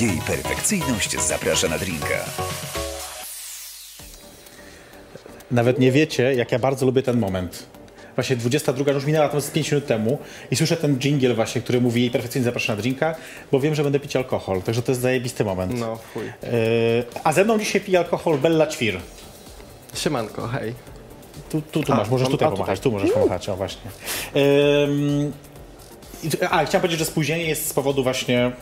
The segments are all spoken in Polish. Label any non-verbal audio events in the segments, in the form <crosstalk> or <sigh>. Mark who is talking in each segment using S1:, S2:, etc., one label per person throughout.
S1: Jej perfekcyjność zaprasza na drinka.
S2: Nawet nie wiecie, jak ja bardzo lubię ten moment. Właśnie 22 już minęła tam z 5 minut temu i słyszę ten jingle właśnie, który mówi jej perfekcyjnie zapraszam na drinka, bo wiem, że będę pić alkohol, także to jest zajebisty moment.
S3: No, fuj.
S2: Yy, a ze mną dzisiaj pije alkohol Bella Ćwir.
S3: Siemanko, hej.
S2: Tu, tu, tu
S3: A,
S2: masz, możesz
S3: tam-
S2: tutaj
S3: a, tutaj.
S2: pomachać, tu możesz pomachać, o właśnie. Ym, i tu- a, chciałem powiedzieć, że spóźnienie jest z powodu właśnie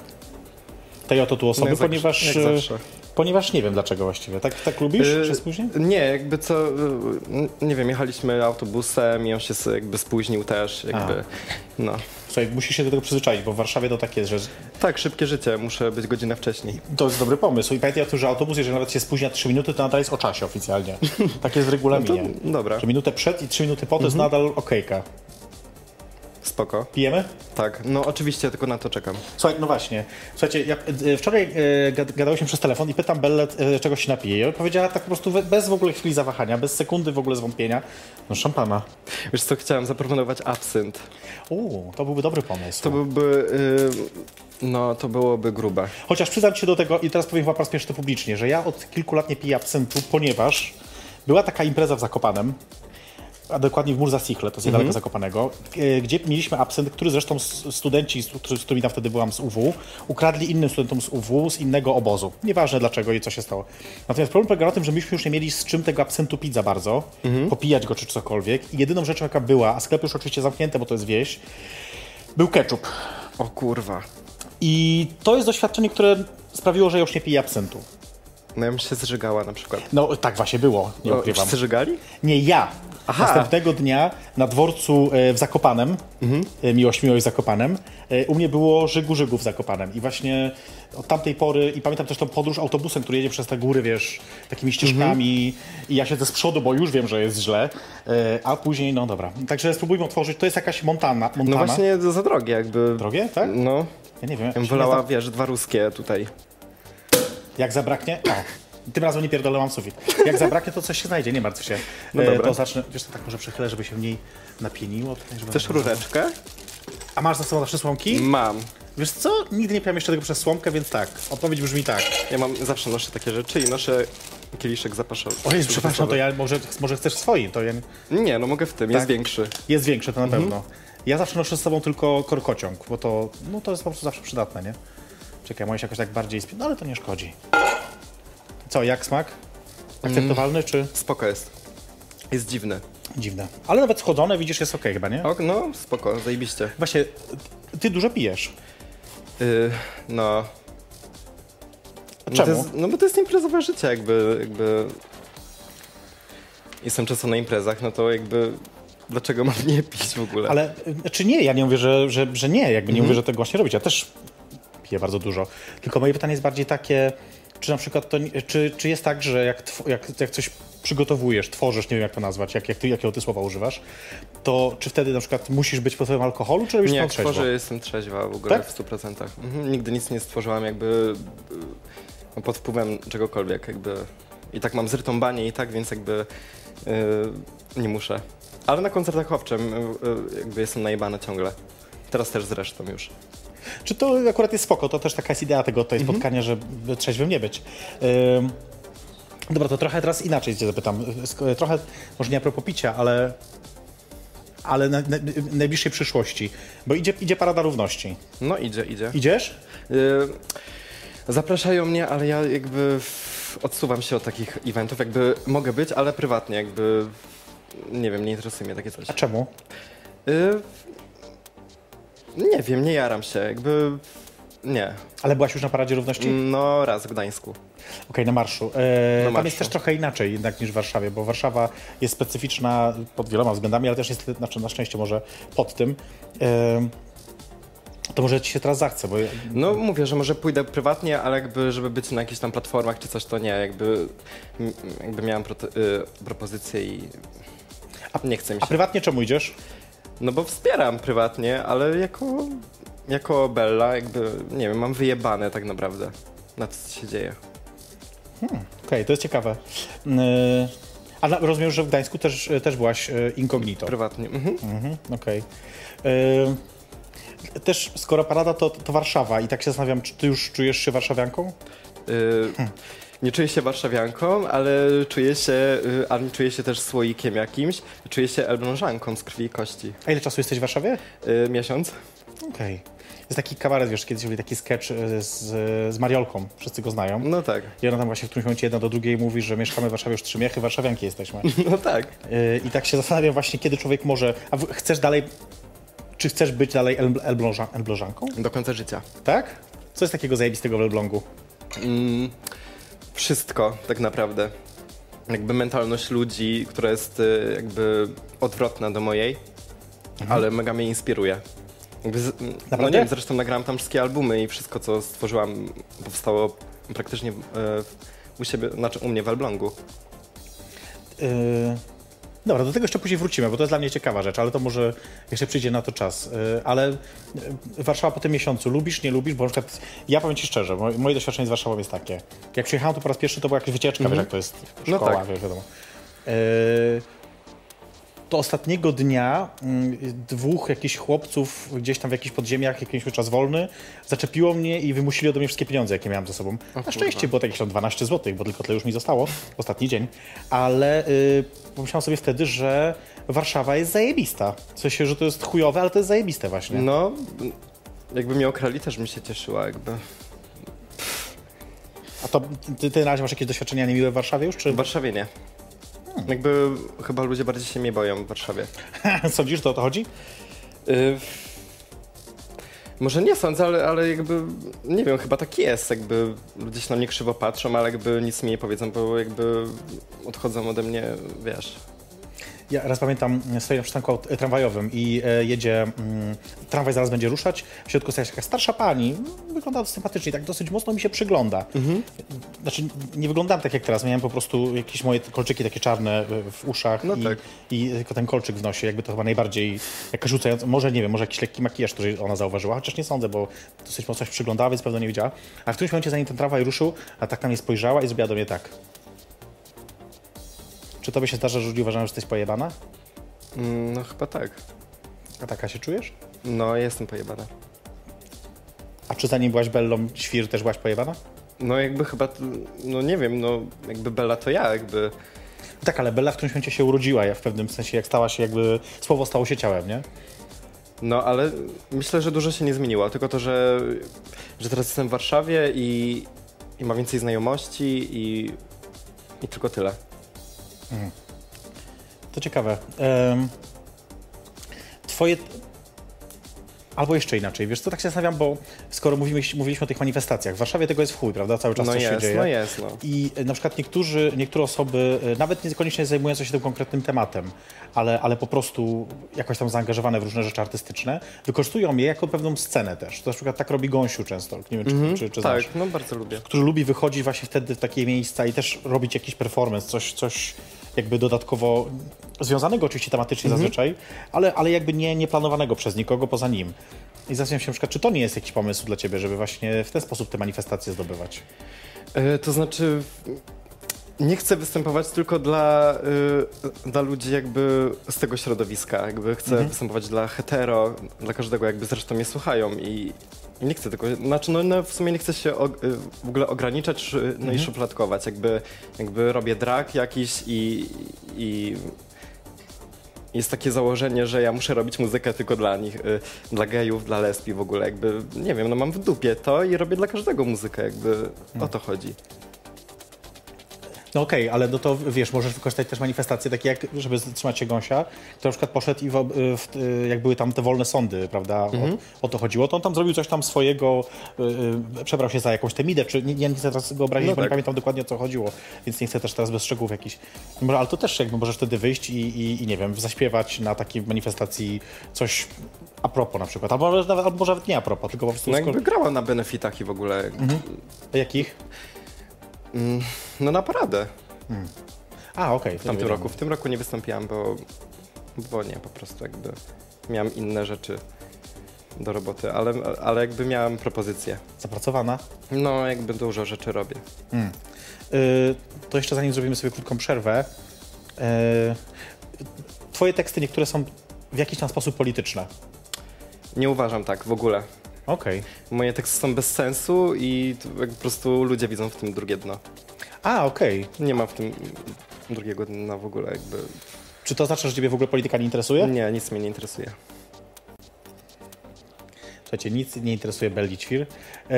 S2: tej oto tu osoby,
S3: No jak zawsze-
S2: ponieważ...
S3: jak zawsze.
S2: y, Ponieważ nie wiem dlaczego właściwie. Tak, tak lubisz
S3: Y,
S2: się spóźnić?
S3: Nie, jakby co, y, nie wiem, jechaliśmy autobusem i on się s- jakby spóźnił też, jakby, no.
S2: Słuchaj, musisz się do tego przyzwyczaić, bo w Warszawie to tak jest, że
S3: Tak, szybkie życie, muszę być godzinę wcześniej.
S2: to jest dobry pomysł. I pamiętaj o tym, że autobus, jeżeli nawet się spóźnia 3 minuty, to nadal jest o czasie oficjalnie. Tak jest w regulaminie.
S3: No to dobra. Mhm.
S2: Że minutę przed i 3 minuty po to jest nadal okejka.
S3: Spoko.
S2: Pijemy?
S3: Tak, no oczywiście, tylko na to czekam.
S2: Słuchaj, no właśnie. Słuchajcie, ja, e, wczoraj e, gad- gadałyśmy przez telefon i pytam Bellę, e, czego się napije. I ona powiedziała tak po prostu we- bez w ogóle chwili zawahania, bez sekundy w ogóle zwątpienia. No szampana.
S3: Wiesz co, chciałem zaproponować absynt.
S2: Uuu, to byłby dobry pomysł.
S3: To byłby, y, no to byłoby grube.
S2: Chociaż przyznam się do tego, i teraz powiem chyba po raz pierwszy to publicznie, że ja od kilku lat nie piję absyntu, ponieważ była taka impreza w Zakopanem, a dokładnie w Murza Sichle, to jest niedaleko Zakopanego, e, gdzie mieliśmy absynt, który zresztą s- studenci, z, którzy- z którymi tam wtedy byłam z UW, ukradli innym studentom z UW z innego obozu. Nieważne dlaczego i co się stało. Natomiast problem polega na tym, że myśmy już nie mieli z czym tego absyntu pić za bardzo, popijać go czy cokolwiek. I jedyną rzeczą, jaka była, a sklep już oczywiście zamknięte, bo to jest wieś, był ketchup.
S3: O kurwa.
S2: I to jest doświadczenie, które sprawiło, że ja już nie piję absentu.
S3: No ja bym się zżygała na przykład.
S2: No tak właśnie było, nie
S3: O,
S2: ukrywam.
S3: Wszyscy żygali?
S2: Nie ja.
S3: Aha.
S2: Następnego dnia na dworcu e, w Zakopanem, e, miłość, miłość Zakopanem, e, u mnie było Żygu, Żygu w Zakopanem. I właśnie od tamtej pory, i pamiętam też tą podróż autobusem, który jedzie przez te góry, wiesz, takimi ścieżkami
S3: Mhm.
S2: i ja siedzę z przodu, bo już wiem, że jest źle, e, a później, no dobra. Także spróbujmy otworzyć, to jest jakaś Montana. Montana.
S3: No właśnie za drogie jakby.
S2: Drogie, tak?
S3: No.
S2: Ja nie wiem.
S3: Ja bym
S2: się nie
S3: wolała, wiesz, dwa ruskie tutaj.
S2: Jak zabraknie. O, tym razem nie pierdolę mam sufit. Jak zabraknie, to coś się znajdzie, nie martw się.
S3: No
S2: E,
S3: dobra.
S2: to zacznę. Wiesz, to tak może przechylę, żeby się mniej napieniło. Tutaj, żeby
S3: Chcesz Mm. rureczkę?
S2: A masz za sobą zawsze słomki?
S3: Mam.
S2: Wiesz co? Nigdy nie piłem jeszcze tego przez słomkę, więc tak. Odpowiedź brzmi tak.
S3: Ja mam, zawsze noszę takie rzeczy i noszę kieliszek zapaszowy.
S2: Ojej, przepraszam, to ja Tak. może, może chcesz swoi, to ja...
S3: Nie, no mogę w tym, jest większy.
S2: jest większe, to na
S3: Mhm.
S2: pewno. Ja zawsze noszę z sobą tylko korkociąg, bo to, no, to jest po prostu zawsze przydatne, nie? Czekaj, moje się jakoś tak bardziej spi... No ale to nie szkodzi. Co, jak smak?
S3: Mm.
S2: Akceptowalny czy
S3: Spoko jest. Jest dziwny.
S2: dziwne? Ale nawet schodzone, widzisz, jest okej chyba, nie?
S3: O, no, spoko, zajebiście.
S2: Właśnie, ty dużo pijesz.
S3: Yy, no. No,
S2: Czemu?
S3: to jest, no bo to jest imprezowe życie, jakby, jakby... Jestem często na imprezach, no to jakby... Dlaczego mam <laughs> nie pić w ogóle?
S2: Ale y, czy nie? Ja nie mówię, że, że, że nie, jakby
S3: Mhm.
S2: nie mówię, że tego właśnie robić. Ja też piję bardzo dużo. Tylko moje pytanie jest bardziej takie, czy na przykład to, nie- czy, czy jest tak, że jak, tw- jak, jak coś przygotowujesz, tworzysz, nie wiem jak to nazwać, jak, jak ty, jakiego ty słowa używasz, to czy wtedy na przykład musisz być pod wpływem alkoholu, czy robisz
S3: Nie,
S2: to
S3: jak
S2: trzeźwo?
S3: tworzę, jestem trzeźwa w ogóle
S2: Tak?
S3: w 100%. Mhm, nigdy nic nie stworzyłam jakby y, pod wpływem czegokolwiek jakby. I tak mam zrytąbanie i tak, więc jakby y, nie muszę. Ale na koncertach owczym y, y, jakby jestem najebana ciągle. Teraz też zresztą już.
S2: Czy to akurat jest spoko, to też taka jest idea tego tutaj spotkania, żeby trzeźwym nie być. Ym, dobra, to trochę teraz inaczej cię zapytam. Sk- Trochę, może nie a propos picia, ale, ale na, na, w najbliższej przyszłości. Bo idzie, idzie Parada Równości.
S3: No idzie, idzie.
S2: Idziesz?
S3: Y, Zapraszają mnie, ale ja jakby w- odsuwam się od takich eventów. Jakby mogę być, ale prywatnie jakby nie wiem, nie interesuje mnie takie coś.
S2: A czemu?
S3: Y, no Nie wiem, nie jaram się, jakby nie.
S2: Ale byłaś już na Paradzie Równości?
S3: No raz w Gdańsku.
S2: Okej, na marszu. E, tam
S3: marszu.
S2: jest też trochę inaczej jednak niż w Warszawie, bo Warszawa jest specyficzna pod wieloma względami, ale też jest, znaczy na szczęście może pod tym. E, to może ci się teraz zachce, bo
S3: No mówię, że może pójdę prywatnie, ale jakby żeby być na jakichś tam platformach czy coś, to nie, jakby, m- jakby miałem prote- y, propozycję i nie chce mi
S2: A
S3: się.
S2: prywatnie czemu idziesz?
S3: No bo wspieram prywatnie, ale jako, jako Bella jakby, nie wiem, mam wyjebane tak naprawdę na to, co się dzieje.
S2: Okej, to jest ciekawe. Yy, a na, rozumiem, że w Gdańsku też, też byłaś yy, y, incognito.
S3: Prywatnie. Mhm.
S2: Mhm, Okej. Yy, też skoro parada, to, to Warszawa i tak się zastanawiam, czy ty już czujesz się warszawianką?
S3: Y, Nie czuję się warszawianką, ale czuję się, y, a nie czuję się też słoikiem jakimś. Czuję się elblążanką z krwi i kości.
S2: A ile czasu jesteś w Warszawie?
S3: Y, Miesiąc?
S2: Okej. Jest taki kabaret, wiesz, kiedyś robi taki sketch e, z, z Mariolką, wszyscy go znają.
S3: No tak, <laughs>
S2: I ona tam właśnie w którymś momencie jedna do drugiej mówi, że mieszkamy w Warszawie już trzy miechy, warszawianki jesteśmy.
S3: no tak.
S2: Yy, I tak się zastanawiam właśnie, kiedy człowiek może... A w- chcesz dalej... Czy chcesz być dalej el, elbląża, elblążanką?
S3: Do końca życia.
S2: Tak? Co jest takiego zajebistego w elblągu?
S3: Mm, wszystko tak naprawdę. Jakby mentalność ludzi, która jest y, jakby odwrotna do mojej, ale mega mnie inspiruje. Jakby z, m, no
S2: Naprawdę?
S3: nie wiem, zresztą nagrałam tam wszystkie albumy i wszystko, co stworzyłam, powstało praktycznie y, u siebie, znaczy u mnie w Elblągu.
S2: Yy... Dobra, do tego jeszcze później wrócimy, bo to jest dla mnie ciekawa rzecz, ale to może jeszcze przyjdzie na to czas. Yy, ale yy, Warszawa po tym miesiącu, lubisz, nie lubisz? Bo na przykład, ja powiem Ci szczerze, mo- moje doświadczenie z Warszawą jest takie. Jak przyjechałem tu po raz pierwszy, to była jakaś wycieczka, wiesz jak to jest
S3: No
S2: szkoła,
S3: tak.
S2: wiesz, wiadomo. Yy... To ostatniego dnia mm, dwóch jakichś chłopców gdzieś tam w jakichś podziemiach, jakiś mój czas wolny, zaczepiło mnie i wymusili ode mnie wszystkie pieniądze, jakie miałem ze sobą. Na szczęście było to jakieś tam 12 zł, bo tylko tyle już mi zostało, ostatni dzień. Ale y, pomyślałem sobie wtedy, że Warszawa jest zajebista. W sensie, że to jest chujowe, ale to jest zajebiste właśnie.
S3: No, m, jakby mnie okrali, też bym się cieszyła, jakby.
S2: A to ty, ty na razie masz jakieś doświadczenia niemiłe w Warszawie już? Czy <laughs>
S3: W Warszawie nie. Jakby chyba ludzie bardziej się mnie boją w Warszawie.
S2: sądzisz, że to o to chodzi?
S3: Y, może nie sądzę, ale, ale jakby, nie wiem, chyba tak jest, jakby ludzie się na mnie krzywo patrzą, ale jakby nic mi nie powiedzą, bo jakby odchodzą ode mnie, wiesz.
S2: Ja raz pamiętam, stoję na przystanku aut- tramwajowym i e, jedzie, mm, tramwaj zaraz będzie ruszać, w środku stoi jakaś starsza pani, mm, wygląda sympatycznie, tak dosyć mocno mi się przygląda.
S3: Mhm.
S2: Znaczy, nie wyglądam tak jak teraz, miałem po prostu jakieś moje kolczyki takie czarne e, w uszach
S3: No
S2: i,
S3: tak.
S2: i tylko ten kolczyk w nosie, jakby to chyba najbardziej jakaś rzucająca, może nie wiem, może jakiś lekki makijaż, który ona zauważyła, chociaż nie sądzę, bo dosyć mocno się przyglądała, więc pewno nie widziała. A w którymś momencie, zanim ten tramwaj ruszył, a tak na mnie spojrzała i zrobiła do mnie tak. Czy tobie się zdarza, że ludzie uważają, że jesteś pojebana?
S3: Mm, No chyba tak.
S2: A taka się czujesz?
S3: No, jestem pojebana.
S2: A czy zanim byłaś Bellą Świr, też byłaś pojebana?
S3: No jakby chyba, t- no nie wiem, no jakby Bella to ja, jakby.
S2: Tak, ale Bella w którymś momencie się urodziła, ja w pewnym sensie, jak stała się jakby, słowo stało się ciałem, nie?
S3: No, ale myślę, że dużo się nie zmieniło. Tylko to, że, że teraz jestem w Warszawie i, i mam więcej znajomości i, i tylko tyle.
S2: To ciekawe. Em, twoje... Albo jeszcze inaczej, wiesz co, tak się zastanawiam, bo skoro mówimy, mówiliśmy o tych manifestacjach, w Warszawie tego jest w chuj, prawda, cały czas
S3: No
S2: coś się
S3: jest,
S2: dzieje.
S3: no jest, no.
S2: I e, na przykład niektórzy, niektóre osoby, e, nawet niekoniecznie zajmujące się tym konkretnym tematem, ale, ale po prostu jakoś tam zaangażowane w różne rzeczy artystyczne, wykorzystują je jako pewną scenę też. To na przykład tak robi Gąsiu często, nie wiem, czy, czy, czy
S3: tak,
S2: znasz.
S3: no bardzo lubię.
S2: Który lubi wychodzić właśnie wtedy w takie miejsca i też robić jakiś performance, coś, coś jakby dodatkowo związanego oczywiście tematycznie zazwyczaj, ale, ale jakby nie, nieplanowanego przez nikogo poza nim. I zastanawiam się na przykład, czy to nie jest jakiś pomysł dla ciebie, żeby właśnie w ten sposób te manifestacje zdobywać?
S3: E, To znaczy, nie chcę występować tylko dla, y, dla ludzi jakby z tego środowiska. Jakby chcę występować dla hetero, dla każdego, jakby zresztą mnie słuchają i i nie chcę tego, znaczy no, no w sumie nie chcę się og- y, w ogóle ograniczać szy- no i szufladkować, jakby, jakby robię drag jakiś i, i jest takie założenie, że ja muszę robić muzykę tylko dla nich, y, dla gejów, dla lesbii w ogóle, jakby, nie wiem, no mam w dupie to i robię dla każdego muzykę, jakby o to chodzi.
S2: No okej, ale no to wiesz, możesz wykorzystać też manifestacje takie jak, żeby zatrzymać się Gąsia, który na przykład poszedł i wo- y, w, jak były tam te wolne sądy, prawda,
S3: Mhm.
S2: o, o to chodziło, to on tam zrobił coś tam swojego, y, y, przebrał się za jakąś temidę, czy nie, ja nie chcę teraz go obrazić,
S3: No
S2: bo nie
S3: tak.
S2: pamiętam dokładnie o co chodziło, więc nie chcę też teraz bez szczegółów jakichś. Może, ale to też jakby możesz wtedy wyjść i, i, i nie wiem, zaśpiewać na takiej manifestacji coś a propos na przykład, albo, nawet- albo może nawet nie a propos, tylko po prostu
S3: No
S2: skoro-
S3: jakby grała na benefitach i w ogóle,
S2: Mhm. jakich?
S3: no na paradę
S2: A, okej.
S3: w tamtym roku. W tym roku nie wystąpiłam, bo, bo nie, po prostu jakby miałam inne rzeczy do roboty, ale, ale jakby miałam propozycję.
S2: Zapracowana.
S3: No jakby dużo rzeczy robię.
S2: Y, to jeszcze zanim zrobimy sobie krótką przerwę, y, twoje teksty niektóre są w jakiś tam sposób polityczne.
S3: Nie uważam tak w ogóle.
S2: Okej.
S3: Moje teksty są bez sensu i to jak po prostu ludzie widzą w tym drugie dno.
S2: A, okej.
S3: Nie ma w tym drugiego dna w ogóle jakby.
S2: Czy to oznacza, że ciebie w ogóle polityka nie interesuje?
S3: Nie, nic mnie nie interesuje.
S2: Słuchajcie, nic nie interesuje Belli Ćwir. E,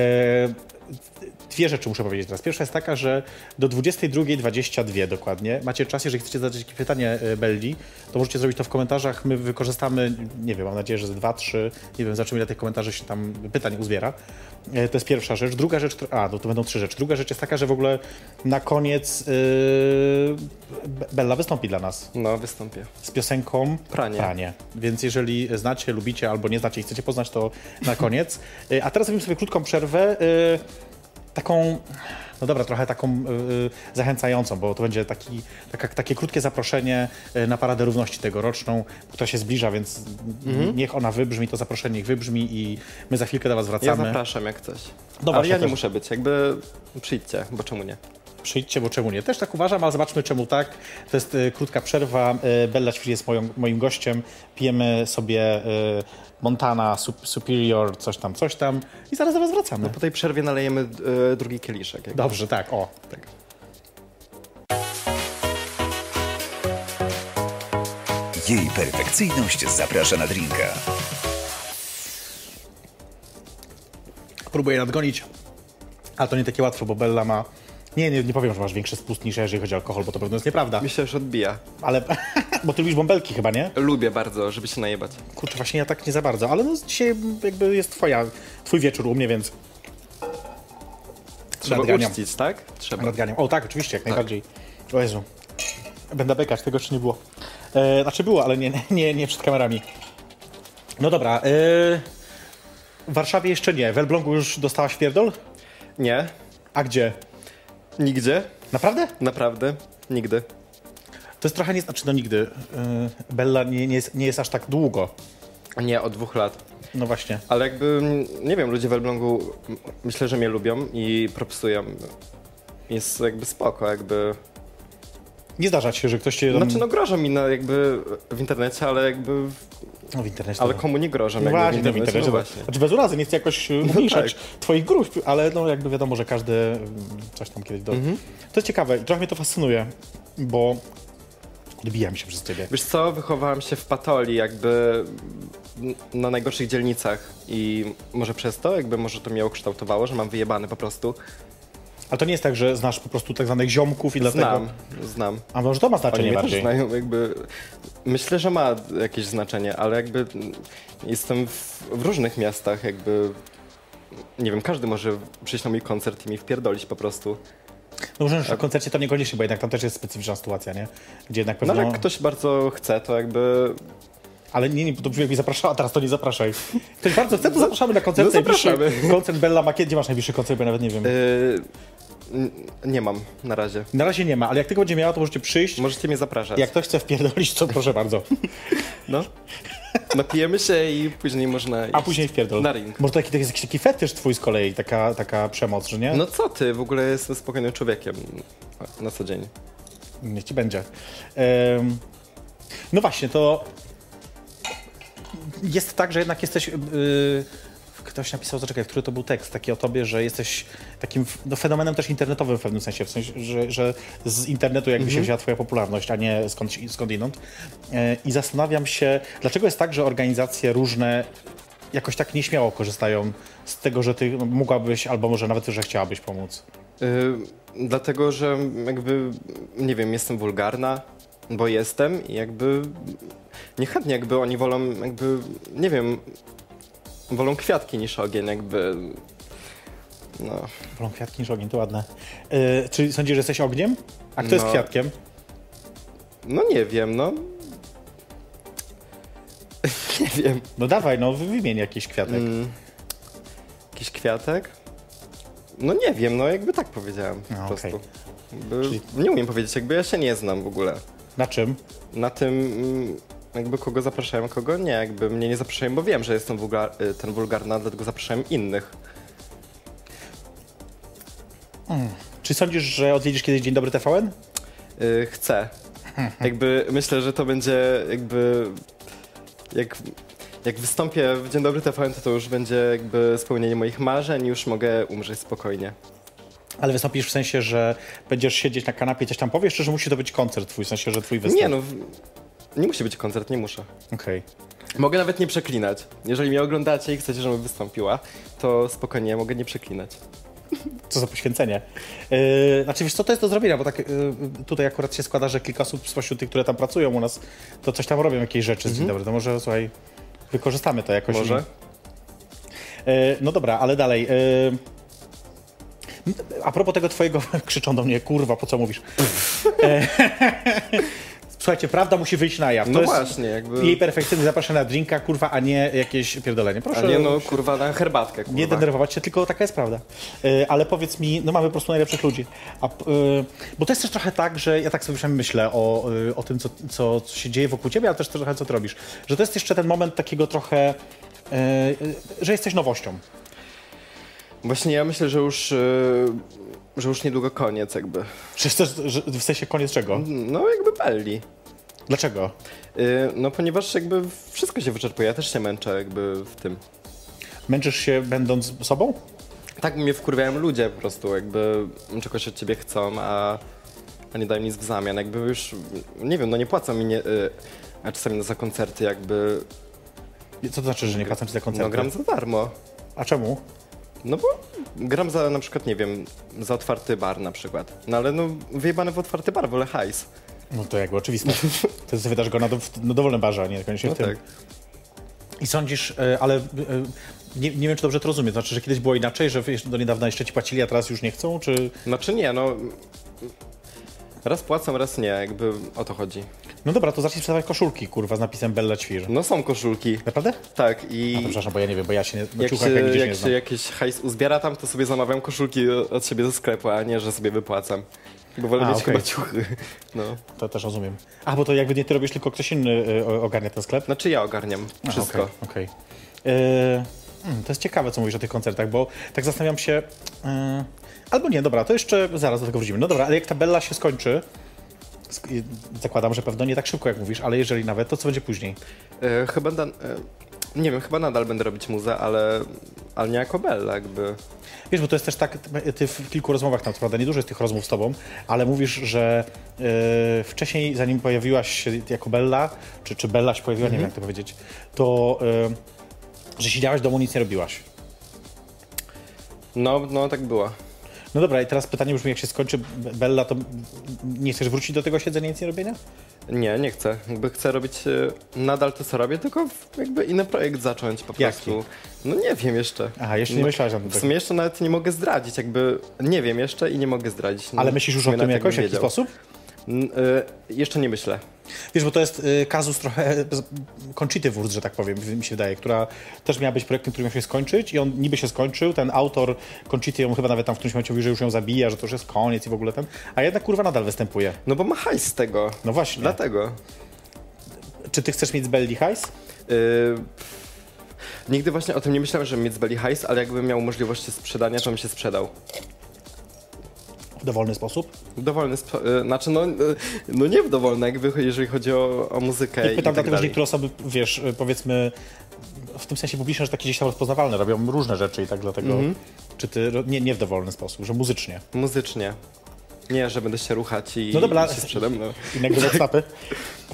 S2: dwie rzeczy muszę powiedzieć teraz. Pierwsza jest taka, że do 22.22 dokładnie macie czas, jeżeli chcecie zadać jakieś pytanie e, Belli, to możecie zrobić to w komentarzach. My wykorzystamy, nie wiem, mam nadzieję, że z dwa, trzy, nie wiem, zobaczymy ile tych komentarzy się tam pytań uzbiera. E, to jest pierwsza rzecz. Druga rzecz, która- a, no to będą trzy rzeczy. Druga rzecz jest taka, że w ogóle na koniec e, Be- Bella wystąpi dla nas
S3: No, wystąpię.
S2: z piosenką
S3: Pranie.
S2: Więc jeżeli znacie, lubicie albo nie znacie i chcecie poznać, to na koniec. <laughs> Y, A teraz zrobimy sobie krótką przerwę. y, Taką, no dobra, trochę taką y, y, zachęcającą, bo to będzie taki, taka, takie krótkie zaproszenie y, na Paradę Równości tegoroczną, która się zbliża, więc
S3: Mhm.
S2: niech ona wybrzmi, to zaproszenie niech wybrzmi i my za chwilkę do Was
S3: Ja
S2: wracamy.
S3: zapraszam jak coś.
S2: No
S3: Ale
S2: właśnie,
S3: ja nie
S2: też-
S3: muszę być, jakby przyjdźcie, bo czemu nie?
S2: Przyjdźcie, bo czemu nie? Też tak uważam, ale zobaczmy czemu tak. To jest e, krótka przerwa. E, Bella Ćwir jest moją, moim gościem. Pijemy sobie e, Montana Sup- Superior, coś tam, coś tam i zaraz do Was wracamy.
S3: Po tej przerwie nalejemy e, drugi kieliszek. Jakby.
S2: Dobrze, tak, o.
S3: Tak.
S1: Jej perfekcyjność zaprasza na drinka.
S2: Próbuję nadgonić, ale to nie takie łatwo, bo Bella ma... Nie, nie, nie powiem, że masz większy spust niż ja, jeżeli chodzi o alkohol, bo to pewno jest nieprawda.
S3: Mi się już odbija.
S2: Ale, <laughs> bo ty lubisz bąbelki chyba, nie?
S3: Lubię bardzo, żeby się najebać.
S2: Kurczę, właśnie ja tak nie za bardzo, ale no dzisiaj jakby jest twoja, twój wieczór u mnie, więc
S3: Trzeba
S2: Nadganiam.
S3: uczcić, tak? Trzeba.
S2: nadganiam. O tak, oczywiście, jak najbardziej. O Jezu. Będę bekać, tego jeszcze nie było. E, znaczy było, ale nie, nie, nie przed kamerami. No dobra. E, w Warszawie jeszcze nie. W Elblągu już dostałaś pierdol?
S3: Nie,
S2: A gdzie?
S3: nigdzie,
S2: Naprawdę?
S3: naprawdę, nigdy.
S2: To jest trochę nie... Znaczy no nigdy. E, Bella nie, nie, jest, nie jest aż tak długo.
S3: Nie, od dwóch lat.
S2: No właśnie.
S3: Ale jakby, mm, nie wiem, ludzie w Elblągu m, myślę, że mnie lubią i propsują. Jest jakby spoko, jakby...
S2: Nie zdarza ci się, że ktoś cię... Tam...
S3: Znaczy no grożą mi na, jakby w internecie, ale jakby...
S2: no w internecie.
S3: Ale
S2: to-
S3: komu nie grożą?
S2: No
S3: jakby
S2: właśnie, no w
S3: internecie,
S2: internecie.
S3: no
S2: No
S3: właśnie.
S2: Znaczy bez urazy, nie chcę jakoś e, umniejszać
S3: tak.
S2: twoich gruźb, ale no jakby wiadomo, że każdy mm, coś tam kiedyś do...
S3: Mhm.
S2: To jest ciekawe i trochę mnie to fascynuje, bo odbija mi się przez ciebie.
S3: Wiesz co, wychowałam się w Patoli, jakby n- na najgorszych dzielnicach i może przez to, jakby może to mnie ukształtowało, że mam wyjebany po prostu.
S2: Ale to nie jest tak, że znasz po prostu tak zwanych ziomków i dlatego...
S3: Znam, znam.
S2: A może to ma
S3: Oni
S2: znaczenie
S3: mnie też
S2: bardziej?
S3: znają, jakby... Myślę, że ma jakieś znaczenie, ale jakby mm, jestem w, w różnych miastach, jakby... Nie wiem, każdy może przyjść na mój koncert i mi wpierdolić po prostu.
S2: No może
S3: Tak.
S2: na koncercie to niekoniecznie, bo jednak tam też jest specyficzna sytuacja, nie? Gdzie jednak
S3: No
S2: pewno...
S3: ale jak ktoś bardzo chce, to jakby...
S2: Ale nie, nie, bo to brzmi jakby zapraszała, teraz to nie zapraszaj. Ktoś bardzo chce, to zapraszamy na koncert
S3: No,
S2: najbliższy.
S3: zapraszamy.
S2: Koncert Bella Makie. Gdzie masz najbliższy koncert, bo ja nawet nie wiem.
S3: Yy, n- nie mam na razie.
S2: Na razie nie ma, ale jak tylko będzie miała, to możecie przyjść.
S3: Możecie mnie zapraszać.
S2: Jak ktoś chce wpierdolić, to proszę bardzo.
S3: No. Napijemy się i później można.
S2: A
S3: iść
S2: później wpierdol.
S3: Na ring.
S2: Może to taki, to jest jakiś taki fetysz twój z kolei, taka, taka przemoc, że nie?
S3: No co ty, w ogóle jestem spokojnym człowiekiem na co dzień.
S2: Niech ci będzie. Em, no właśnie, to jest tak, że jednak jesteś... Yy, ktoś napisał, zaczekaj, który to był tekst taki o tobie, że jesteś takim f- no, fenomenem też internetowym w pewnym sensie, w sensie, że, że z internetu jakby się wzięła twoja popularność, a nie skąd, skądinąd. E, I zastanawiam się, dlaczego jest tak, że organizacje różne jakoś tak nieśmiało korzystają z tego, że ty no, mogłabyś, albo może nawet, że chciałabyś pomóc.
S3: Yy, dlatego, że jakby, nie wiem, jestem wulgarna, bo jestem i jakby niechętnie jakby oni wolą, jakby, nie wiem, wolą kwiatki niż ogień, jakby. No.
S2: Wolą kwiatki niż ogień, to ładne. E, czy sądzisz, że jesteś ogniem? A kto jest
S3: No.
S2: kwiatkiem?
S3: no nie wiem, no. <laughs> nie wiem.
S2: No dawaj, no wy- wymień jakiś kwiatek.
S3: Mm. Jakiś kwiatek? No nie wiem, no jakby tak powiedziałem po
S2: No,
S3: prostu.
S2: okej.
S3: Jakby
S2: Czyli-
S3: Nie umiem powiedzieć, jakby ja się nie znam w ogóle.
S2: Na czym?
S3: Na tym mm, jakby kogo zapraszają, kogo nie. Jakby mnie nie zapraszają, bo wiem, że jestem wulgar, y, ten wulgarna, dlatego zapraszają innych.
S2: Czy sądzisz, że odwiedzisz kiedyś Dzień Dobry TVN?
S3: Y,
S2: <laughs>
S3: Chcę. Jakby myślę, że to będzie jakby jak, jak wystąpię w Dzień Dobry TVN, to to już będzie jakby spełnienie moich marzeń, już mogę umrzeć spokojnie.
S2: Ale wystąpisz w sensie, że będziesz siedzieć na kanapie, coś tam powiesz, czy że musi to być koncert twój, w sensie, że twój występ?
S3: Nie no, w- nie musi być koncert, nie muszę.
S2: Okej.
S3: Mogę nawet nie przeklinać. Jeżeli mnie oglądacie i chcecie, żebym wystąpiła, to spokojnie, mogę nie przeklinać.
S2: Co za poświęcenie. Yy, znaczy, wiesz co, to jest do zrobienia, bo tak yy, tutaj akurat się składa, że kilka osób spośród tych, które tam pracują u nas, to coś tam robią, jakieś rzeczy. Dzień dobry, to może, słuchaj, wykorzystamy to jakoś.
S3: Mhm. Może?
S2: E, No dobra, ale dalej. e, n- A propos tego twojego, <laughs> krzyczą do mnie, kurwa, po co mówisz? E, <laughs> Słuchajcie, prawda musi wyjść na jaw. To
S3: No
S2: jest
S3: właśnie, jakby-
S2: Jej perfekcyjny zaprasza na drinka, kurwa, a nie jakieś pierdolenie. Proszę
S3: A nie no, kurwa, na herbatkę, kurwa.
S2: nie denerwować się, tylko taka jest prawda. E, Ale powiedz mi, no mamy po prostu najlepszych ludzi. A, p- e, bo to jest też trochę tak, że ja tak sobie czasami myślę o, e, o tym, co, co, co się dzieje wokół ciebie, ale też trochę co ty robisz. Że to jest jeszcze ten moment takiego trochę, e, e, że jesteś nowością.
S3: Właśnie ja myślę, że już, yy, że już niedługo koniec jakby.
S2: Czy chcesz, że, w sensie koniec czego?
S3: No jakby belli.
S2: Dlaczego?
S3: Yy, no ponieważ jakby wszystko się wyczerpuje, ja też się męczę jakby w tym.
S2: Męczysz się będąc sobą?
S3: Tak mnie wkurwiają ludzie po prostu, jakby czegoś od ciebie chcą, a, a nie dają nic w zamian. Jakby już, nie wiem, no nie płacą mi, nie, yy, a czasami za koncerty jakby,
S2: Co to znaczy, że nie płacą ci za koncerty?
S3: no gram za darmo.
S2: A czemu?
S3: No bo gram za na przykład, nie wiem, za otwarty bar na przykład. No ale no wyjebane w otwarty bar, wolę hajs.
S2: No to jakby
S3: <laughs>
S2: oczywiste. To jest, wydasz go na, do, na dowolnym barze, a nie koniecznie
S3: No
S2: w tym.
S3: tak.
S2: I sądzisz, e, ale e, nie, nie wiem, czy dobrze to rozumiem. Znaczy, że kiedyś było inaczej, że wiesz, do niedawna jeszcze ci płacili, a teraz już nie chcą? Czy...
S3: Znaczy nie, no. Raz płacą, raz nie, jakby o to chodzi.
S2: No dobra, to zacznij sprzedawać koszulki, kurwa, z napisem Bella Ćwir.
S3: No są koszulki,
S2: Naprawdę?
S3: tak i.
S2: No, przepraszam, bo ja nie wiem, bo ja się na
S3: jak
S2: ciuchach
S3: się,
S2: jak widzisz nie
S3: jak się
S2: znam.
S3: jakiś hajs uzbiera tam, to sobie zamawiam koszulki od siebie ze sklepu, a nie, że sobie wypłacam. Bo wolę
S2: A,
S3: mieć
S2: okej.
S3: chyba ciuchy. No.
S2: To też rozumiem. A, bo to jakby nie ty robisz, tylko ktoś inny e, o- ogarnia ten sklep?
S3: Znaczy ja ogarniam
S2: A,
S3: wszystko.
S2: Okej. okej. E, mm, to jest ciekawe, co mówisz o tych koncertach, bo tak zastanawiam się. e, albo nie, dobra, to jeszcze zaraz do tego wrócimy. No dobra, ale jak ta Bella się skończy, sk- i zakładam, że pewno nie tak szybko, jak mówisz, ale jeżeli nawet, to co będzie później?
S3: E, chyba da, e, nie wiem, chyba nadal będę robić muzę, ale, ale nie jako Bella, jakby.
S2: Wiesz, bo to jest też tak, ty- ty w kilku rozmowach, tam co prawda niedużo jest tych rozmów z tobą, ale mówisz, że e, wcześniej, zanim pojawiłaś się jako Bella, czy, czy Bella się pojawiła, nie wiem jak to powiedzieć, to e, że siedziałaś w domu, nic nie robiłaś.
S3: No, no tak było.
S2: No dobra, i teraz pytanie brzmi, jak się skończy Be- Bella, to nie chcesz wrócić do tego siedzenia, nic nie robienia?
S3: Nie, nie chcę. Jakby chcę robić e, nadal to, co robię, tylko w- jakby inny projekt zacząć po
S2: Jaki?
S3: prostu. No nie wiem jeszcze.
S2: Aha, jeszcze nie
S3: No,
S2: myślałaś na ten
S3: W sumie jeszcze nawet nie mogę zdradzić, jakby nie wiem jeszcze i nie mogę zdradzić. No,
S2: Ale myślisz już o
S3: nie
S2: tym
S3: nawet
S2: jakoś, w
S3: jakbym
S2: jakiś
S3: wiedział.
S2: sposób?
S3: N- e, jeszcze nie myślę.
S2: Wiesz, bo to jest y, kazus trochę Conchity Wurst, że tak powiem, w- mi się wydaje, która też miała być projektem, który miał się skończyć i on niby się skończył, ten autor Conchity ją chyba nawet tam w którymś momencie mówił, że już ją zabija, że to już jest koniec i w ogóle ten, a jednak kurwa nadal występuje.
S3: No bo ma hajs z tego.
S2: No właśnie.
S3: Dlatego.
S2: Czy ty chcesz mieć z Belli hajs?
S3: E, nigdy właśnie o tym nie myślałem, żeby mieć z Belly hajs, ale jakbym miał możliwość sprzedania, to bym się sprzedał.
S2: W dowolny sposób?
S3: W dowolny spo- e, Znaczy, no, e, no nie w dowolny, jakby, jeżeli chodzi o, o muzykę
S2: Nie
S3: i
S2: pytam
S3: tak
S2: dlatego, że
S3: dalej.
S2: niektóre osoby, wiesz, y, powiedzmy w tym sensie publiczne, że takie gdzieś tam rozpoznawalne, robią różne rzeczy i tak dlatego,
S3: Mhm.
S2: czy ty, ro- nie, nie w dowolny sposób, że muzycznie.
S3: Muzycznie. Nie, że będę się ruchać i,
S2: No dobra,
S3: i się sprzedam. No.
S2: innego WhatsAppy.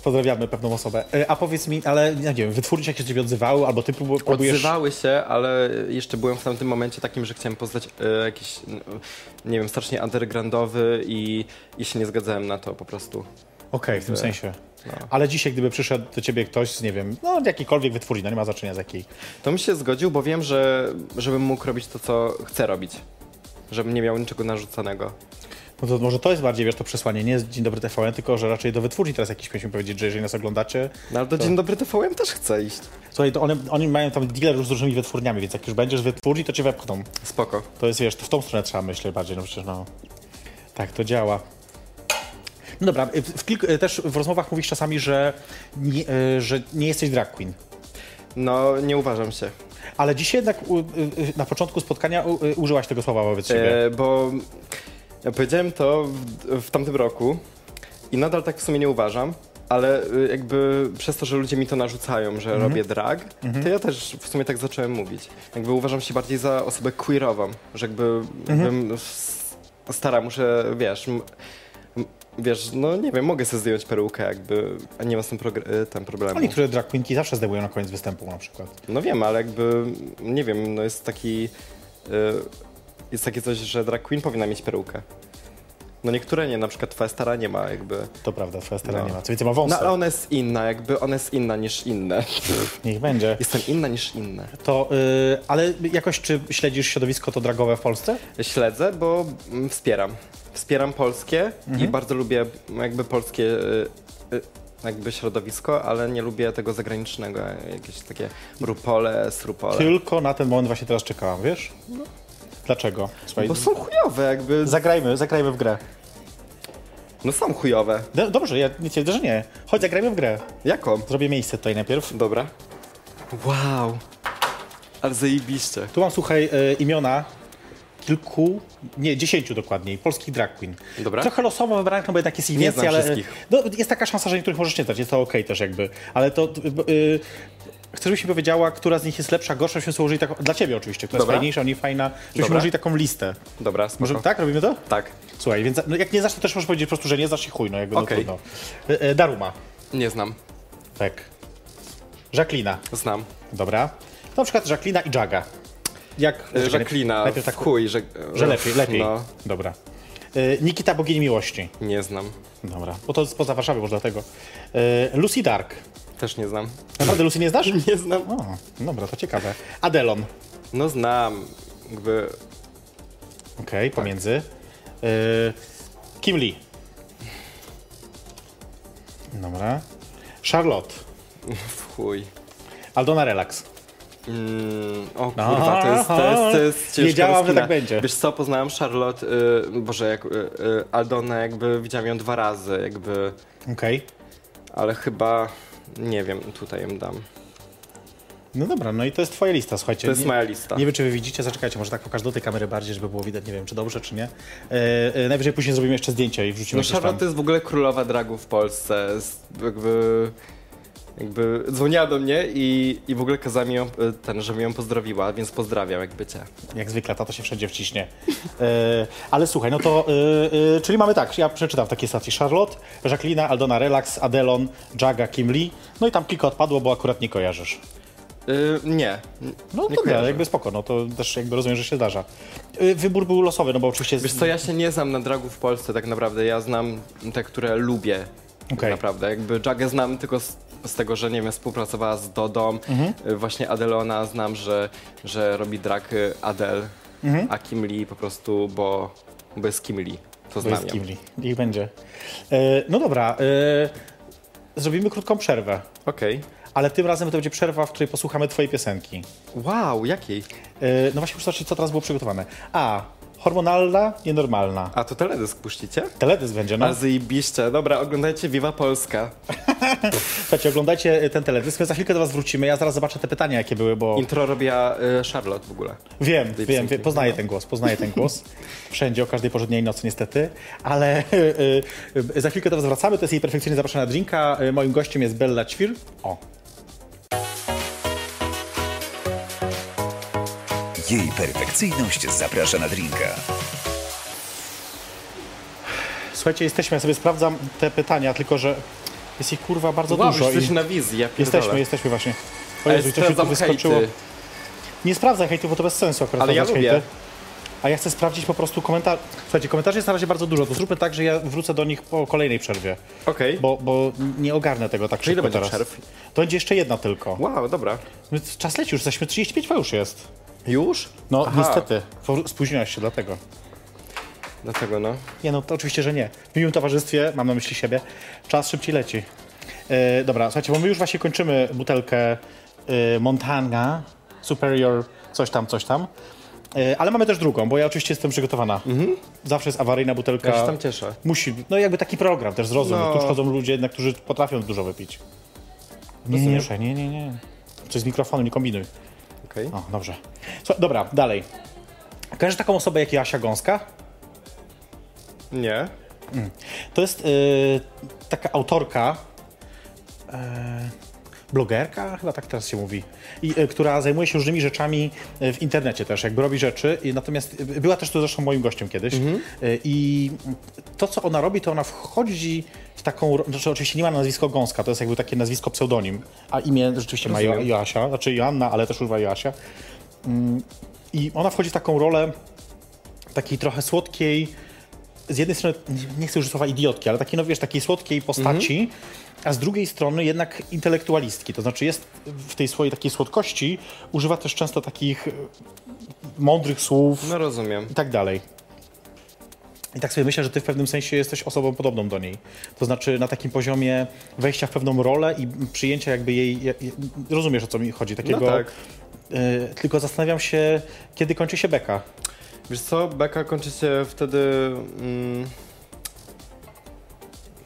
S2: Pozdrawiamy pewną osobę. E, A powiedz mi, ale nie wiem, wytwórnie jak się do ciebie odzywały, albo ty próbu- próbujesz...
S3: Odzywały się, ale jeszcze byłem w tamtym momencie takim, że chciałem poznać e, jakiś, n- nie wiem, strasznie undergroundowy i, i się nie zgadzałem na to po prostu.
S2: Okej, w tym sensie.
S3: no.
S2: Ale dzisiaj, gdyby przyszedł do ciebie ktoś z, nie wiem, no jakikolwiek wytwórni, no nie ma znaczenia z jakiej.
S3: To mi się zgodził, bo wiem, że żebym mógł robić to, co chcę robić. Żebym nie miał niczego narzucanego.
S2: No to może to jest bardziej, wiesz, to przesłanie nie z Dzień Dobry TVN, tylko że raczej do wytwórni teraz jakiś powinniśmy powiedzieć, że jeżeli nas oglądacie,
S3: No ale do Dzień Dobry TVN też chcę iść.
S2: słuchaj, to one, oni mają tam dealer już z różnymi wytwórniami, więc jak już będziesz w wytwórni, to cię wepchną.
S3: Spoko.
S2: To jest, wiesz, to w tą stronę trzeba myśleć bardziej, no przecież no. Tak, to działa. No dobra, w, w kilku, też w rozmowach mówisz czasami, że nie, e, że nie jesteś drag queen.
S3: No, nie uważam się.
S2: Ale dzisiaj jednak u, y, y, na początku spotkania u, y, użyłaś tego słowa wobec siebie.
S3: E, bo ja powiedziałem to w, w tamtym roku i nadal tak w sumie nie uważam, ale y, jakby przez to, że ludzie mi to narzucają, że robię drag, to ja też w sumie tak zacząłem mówić. Jakby uważam się bardziej za osobę queerową, że jakby jakbym s- stara muszę, wiesz, m- m- wiesz, no nie wiem, mogę sobie zdjąć perukę jakby, a nie ma z tym, progr- y, tam problemu.
S2: No niektóre drag queenki zawsze zdejmują na koniec występu na przykład.
S3: No wiem, ale jakby, nie wiem, no jest taki, y, jest takie coś, że drag queen powinna mieć perukę. No niektóre nie, na przykład twoja stara nie ma jakby.
S2: To prawda, twoja stara
S3: No.
S2: nie ma. Co więcej, ma
S3: No
S2: wąsy.
S3: ale ona jest inna, jakby ona jest inna niż inne.
S2: Niech będzie.
S3: Jestem inna niż inne.
S2: To, y, ale jakoś czy śledzisz środowisko to dragowe w Polsce?
S3: Śledzę, bo mm, wspieram. Wspieram polskie i bardzo lubię mm, jakby polskie y, y, jakby środowisko, ale nie lubię tego zagranicznego, jakieś takie rupole, srupole.
S2: Tylko na ten moment właśnie teraz czekałam, wiesz? Dlaczego? Słuchaj,
S3: No. Bo są chujowe jakby.
S2: zagrajmy, zagrajmy w grę.
S3: No są chujowe.
S2: Do, dobrze, ja nie twierdzę, że nie. Chodź, zagrajmy w grę.
S3: Jaką?
S2: Zrobię miejsce tutaj najpierw.
S3: Dobra. Wow. Ale zajebiście.
S2: Tu mam, słuchaj, y, imiona kilku, nie, dziesięciu dokładniej, polskich drag queen.
S3: Dobra.
S2: Trochę losowo wybranych, no bo jednak jest ich
S3: Nie
S2: więcej,
S3: znam
S2: ale
S3: wszystkich.
S2: no, jest taka szansa, że niektórych możesz nie znać, jest to okej też jakby, ale to... y, y, Chcę, żebyś mi powiedziała, która z nich jest lepsza, gorsza, żebyśmy sobie ułożyli taką, dla ciebie oczywiście, która
S3: Dobra.
S2: jest fajniejsza, mniej fajna, żebyśmy
S3: Dobra.
S2: ułożyli taką listę.
S3: Dobra, spoko.
S2: Możemy, tak? Robimy to?
S3: Tak.
S2: Słuchaj, więc no, jak nie znasz, to też możesz powiedzieć po prostu, że nie znasz i chuj, no jakby
S3: Okej.
S2: no trudno. Y, y, Daruma.
S3: Nie znam.
S2: Tak. Jacqueline.
S3: Znam.
S2: Dobra. To na przykład Jacqueline i Jaga. Jak...
S3: Y, Jacqueline.
S2: Najpierw tak,
S3: Chuj, że,
S2: że lepiej, lepiej.
S3: No,
S2: Dobra. Y, Nikita, bogini miłości.
S3: nie znam.
S2: Dobra. Bo to jest poza Warszawy może dlatego. Y, Lucy Dark.
S3: Też nie znam.
S2: Naprawdę Lucy nie znasz?
S3: <laughs> Nie znam.
S2: O, dobra, to ciekawe. Adelon.
S3: No znam. Jakby
S2: Okej,
S3: Tak.
S2: pomiędzy. Y, Kim Lee. Dobra. Charlotte.
S3: w chuj.
S2: Aldona Relax.
S3: Mm, o
S2: No.
S3: kurwa, to jest, to jest, to jest ciężka
S2: Wiedziałam, że
S3: rozkmina.
S2: tak będzie.
S3: Wiesz co, poznałam Charlotte, y, Boże, jak, y, y, Aldonę jakby widziałam ją dwa razy, jakby,
S2: Okej.
S3: ale chyba, nie wiem, tutaj ją dam.
S2: No dobra, no i to jest twoja lista, słuchajcie.
S3: To jest
S2: Nie-
S3: moja lista.
S2: Nie wiem, czy wy widzicie, zaczekajcie, może tak pokaż do tej kamery bardziej, żeby było widać, nie wiem, czy dobrze, czy nie. E, e, najwyżej później zrobimy jeszcze zdjęcia i wrzucimy
S3: No
S2: jakieś
S3: Charlotte to
S2: tam.
S3: jest w ogóle królowa dragu w Polsce. Z- Jakby, jakby dzwoniła do mnie i, i w ogóle kazała mi ją, y, ten, żebym ją pozdrowiła, więc pozdrawiam jakby cię.
S2: Jak zwykle, ta to się wszędzie wciśnie. E, ale słuchaj, no to, e, e, czyli mamy tak, ja przeczytam w takiej stacji Charlotte, Jacqueline, Aldona Relax, Adelon, Jaga, Kim Lee, no i tam kilka odpadło, bo akurat nie kojarzysz.
S3: Y, nie.
S2: No
S3: nie
S2: to
S3: kojarzę.
S2: jakby spoko, no to też jakby rozumiem, że się zdarza. E, wybór był losowy, no bo oczywiście...
S3: Wiesz co, ja się nie znam na dragu w Polsce tak naprawdę, ja znam te, które lubię.
S2: Okej.
S3: Tak naprawdę, jakby Jagę znam tylko z, z tego, że nie wiem, współpracowała z Dodą,
S2: Mhm.
S3: y, właśnie Adelona znam, że, że robi drag y, Adel,
S2: Mhm.
S3: a Kim Lee po prostu, bo, bo jest Kim Lee, to
S2: To
S3: znam
S2: jest
S3: ją.
S2: Gimli. Niech będzie. E, no dobra, e, zrobimy krótką przerwę,
S3: Okej.
S2: ale tym razem to będzie przerwa, w której posłuchamy twojej piosenki.
S3: Wow, jakiej?
S2: E, no właśnie muszę zobaczyć, co teraz było przygotowane. A. Hormonalna, nienormalna.
S3: A to teledysk puścicie?
S2: Teledysk będzie, no.
S3: A zajebiście, dobra, oglądajcie Viva Polska.
S2: Słuchajcie, oglądajcie e, ten teledysk, my za chwilkę do was wrócimy, ja zaraz zobaczę te pytania, jakie były, bo...
S3: Intro robiła y, Charlotte w ogóle.
S2: Wiem,
S3: tej
S2: wiem, wiem,
S3: piosenki.
S2: poznaję ten głos, poznaję ten głos.
S3: <laughs>
S2: Wszędzie, o każdej porze dnia i nocy niestety, ale y, y, y, za chwilkę do Was wracamy, to jest jej perfekcyjnie zapraszana drinka. Y, Moim gościem jest Bella Ćwir. O,
S1: Jej perfekcyjność zaprasza na drinka.
S2: Słuchajcie, jesteśmy, ja sobie sprawdzam te pytania, tylko że jest ich kurwa bardzo
S3: Wow,
S2: dużo.
S3: jesteś
S2: i...
S3: No na wizji, ja pierdolę.
S2: Jesteśmy, jesteśmy właśnie. O
S3: Ale
S2: Jezu, coś mi tu
S3: sprawdzam
S2: wyskoczyło.
S3: hejty.
S2: Nie sprawdzaj hejtu, bo to bez sensu akurat
S3: Ale ja
S2: sprawdzać
S3: lubię.
S2: hejty. A ja chcę sprawdzić po prostu komentarz. Słuchajcie, komentarzy jest na razie bardzo dużo, to zróbmy tak, że ja wrócę do nich po kolejnej przerwie.
S3: Okej.
S2: Bo, bo nie ogarnę tego tak szybko
S3: ile będzie
S2: teraz.
S3: przerw?
S2: To będzie jeszcze jedna tylko.
S3: Wow, dobra.
S2: My- Czas leci już, jesteśmy 35 już jest.
S3: Już?
S2: No
S3: Aha.
S2: niestety, For- spóźniłaś się dlatego.
S3: Dlatego no.
S2: Nie no, to oczywiście, że nie. W miłym towarzystwie, mam na myśli siebie, czas szybciej leci. E, dobra, słuchajcie, bo my już właśnie kończymy butelkę e, Montana Superior coś tam, coś tam. E, ale mamy też drugą, bo ja oczywiście jestem przygotowana. Zawsze jest awaryjna butelka.
S3: Mhm. Ja się tam cieszę.
S2: Musi, no jakby taki program też zrozum,
S3: No.
S2: no. tu przychodzą ludzie jednak, którzy potrafią dużo wypić. Nie, nie, nie, nie, nie, nie. Coś z mikrofonem, nie kombinuj.
S3: Okej.
S2: O, dobrze. Słuchaj, dobra, dalej. Kojarzysz taką osobę jak Jasia Gąska?
S3: Nie.
S2: To jest y, taka autorka e, blogerka, chyba tak teraz się mówi, i, e, która zajmuje się różnymi rzeczami e, w internecie też, jakby robi rzeczy. I natomiast e, była też tu zresztą moim gościem kiedyś. E, I to, co ona robi, to ona wchodzi w taką, ro- znaczy oczywiście nie ma nazwisko Gąska, to jest jakby takie nazwisko pseudonim, a imię rzeczywiście ma Jo-
S3: Rozumiem.
S2: Joasia, znaczy Joanna, ale też używa Joasia. Mm, I ona wchodzi w taką rolę takiej trochę słodkiej, z jednej strony, nie- nie chcę użyć słowa idiotki, ale takiej, no wiesz, takiej słodkiej postaci, a z drugiej strony jednak intelektualistki. To znaczy jest w tej swojej takiej słodkości, używa też często takich e, mądrych słów
S3: No rozumiem.
S2: i tak dalej. I tak sobie myślę, że ty w pewnym sensie jesteś osobą podobną do niej. To znaczy na takim poziomie wejścia w pewną rolę i przyjęcia jakby jej... je- je- Rozumiesz, o co mi chodzi? Takiego,
S3: No tak.
S2: e, tylko zastanawiam się, kiedy kończy się beka.
S3: Wiesz co, beka kończy się wtedy... Mm,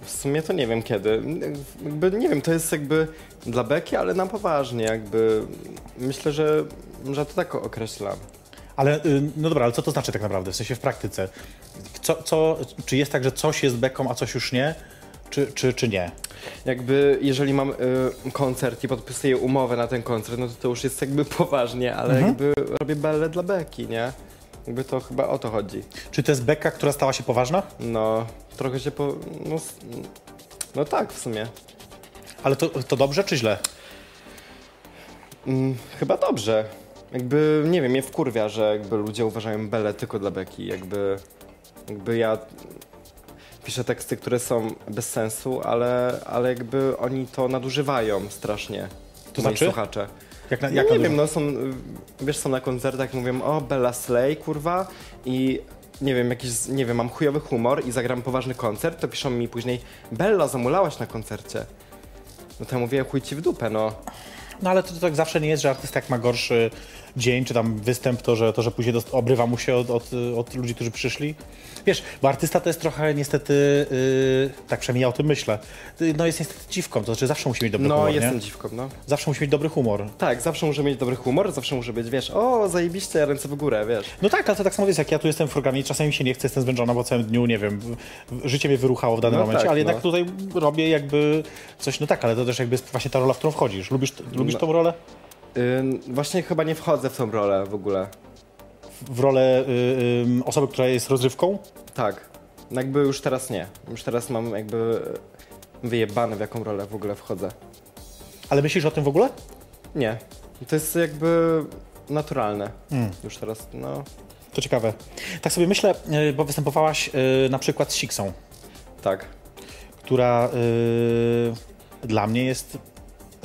S3: w sumie to nie wiem kiedy. Jakby, nie wiem, to jest jakby dla beki, ale na poważnie jakby. Myślę, że, że to tak określam.
S2: Ale y, no dobra, ale co to znaczy tak naprawdę, w sensie w praktyce? Co, co, czy jest tak, że coś jest beką, a coś już nie? Czy, czy, czy nie?
S3: Jakby jeżeli mam y, koncert i podpisuję umowę na ten koncert, no to to już jest jakby poważnie, ale jakby robię belę dla beki, nie? Jakby to chyba o to chodzi.
S2: Czy to jest beka, która stała się poważna?
S3: No, trochę się po... No, s- no tak w sumie.
S2: Ale to, to dobrze czy źle?
S3: Mm, chyba dobrze. Jakby, nie wiem, mnie wkurwia, że jakby ludzie uważają belę tylko dla beki. Jakby, jakby ja piszę teksty, które są bez sensu, ale, ale jakby oni to nadużywają strasznie.
S2: To
S3: moi
S2: znaczy?
S3: słuchacze.
S2: Jak na,
S3: No
S2: jak
S3: nie
S2: na
S3: wiem, no są, y, wiesz, są na koncertach, mówią, o, Bella Slay, kurwa, i nie wiem, jakiś, nie wiem, mam chujowy humor i zagram poważny koncert, to piszą mi później, Bella, zamulałaś na koncercie. No to ja mówię, chuj ci w dupę, no.
S2: No ale to, to tak zawsze nie jest, że artysta jak ma gorszy dzień czy tam występ, to że, to, że później dost, obrywa mu się od, od, y, od ludzi, którzy przyszli. Wiesz, bo artysta to jest trochę niestety, y, tak przynajmniej ja o tym myślę, y, no jest niestety dziwką, to znaczy zawsze musi mieć dobry
S3: No,
S2: humor,
S3: jestem
S2: nie?
S3: dziwką, no.
S2: Zawsze musi mieć dobry humor.
S3: Tak, zawsze muszę mieć dobry humor, zawsze muszę być, wiesz, o, zajebiście, ręce w górę, wiesz.
S2: No tak, ale to tak samo jest, jak ja tu jestem w programie i czasami mi się nie chce, jestem zmęczona po całym dniu, nie wiem, w- w- życie mnie wyruchało w danym
S3: No
S2: momencie,
S3: tak,
S2: ale jednak
S3: no.
S2: tutaj robię jakby coś, no tak, ale to też jakby jest właśnie ta rola, w którą wchodzisz. Lubisz, lubisz
S3: No.
S2: tą rolę?
S3: Ym, właśnie chyba nie wchodzę w tą rolę w ogóle.
S2: W rolę y, ym, osoby, która jest rozrywką?
S3: Tak. No Jakby już teraz nie. Już teraz mam jakby e, wyjebane, w jaką rolę w ogóle wchodzę.
S2: Ale myślisz o tym w ogóle?
S3: Nie. To jest jakby naturalne.
S2: Mm.
S3: Już teraz, no.
S2: To ciekawe. Tak sobie myślę, y, bo występowałaś y, na przykład z Siksą,
S3: Tak.
S2: która y, dla mnie jest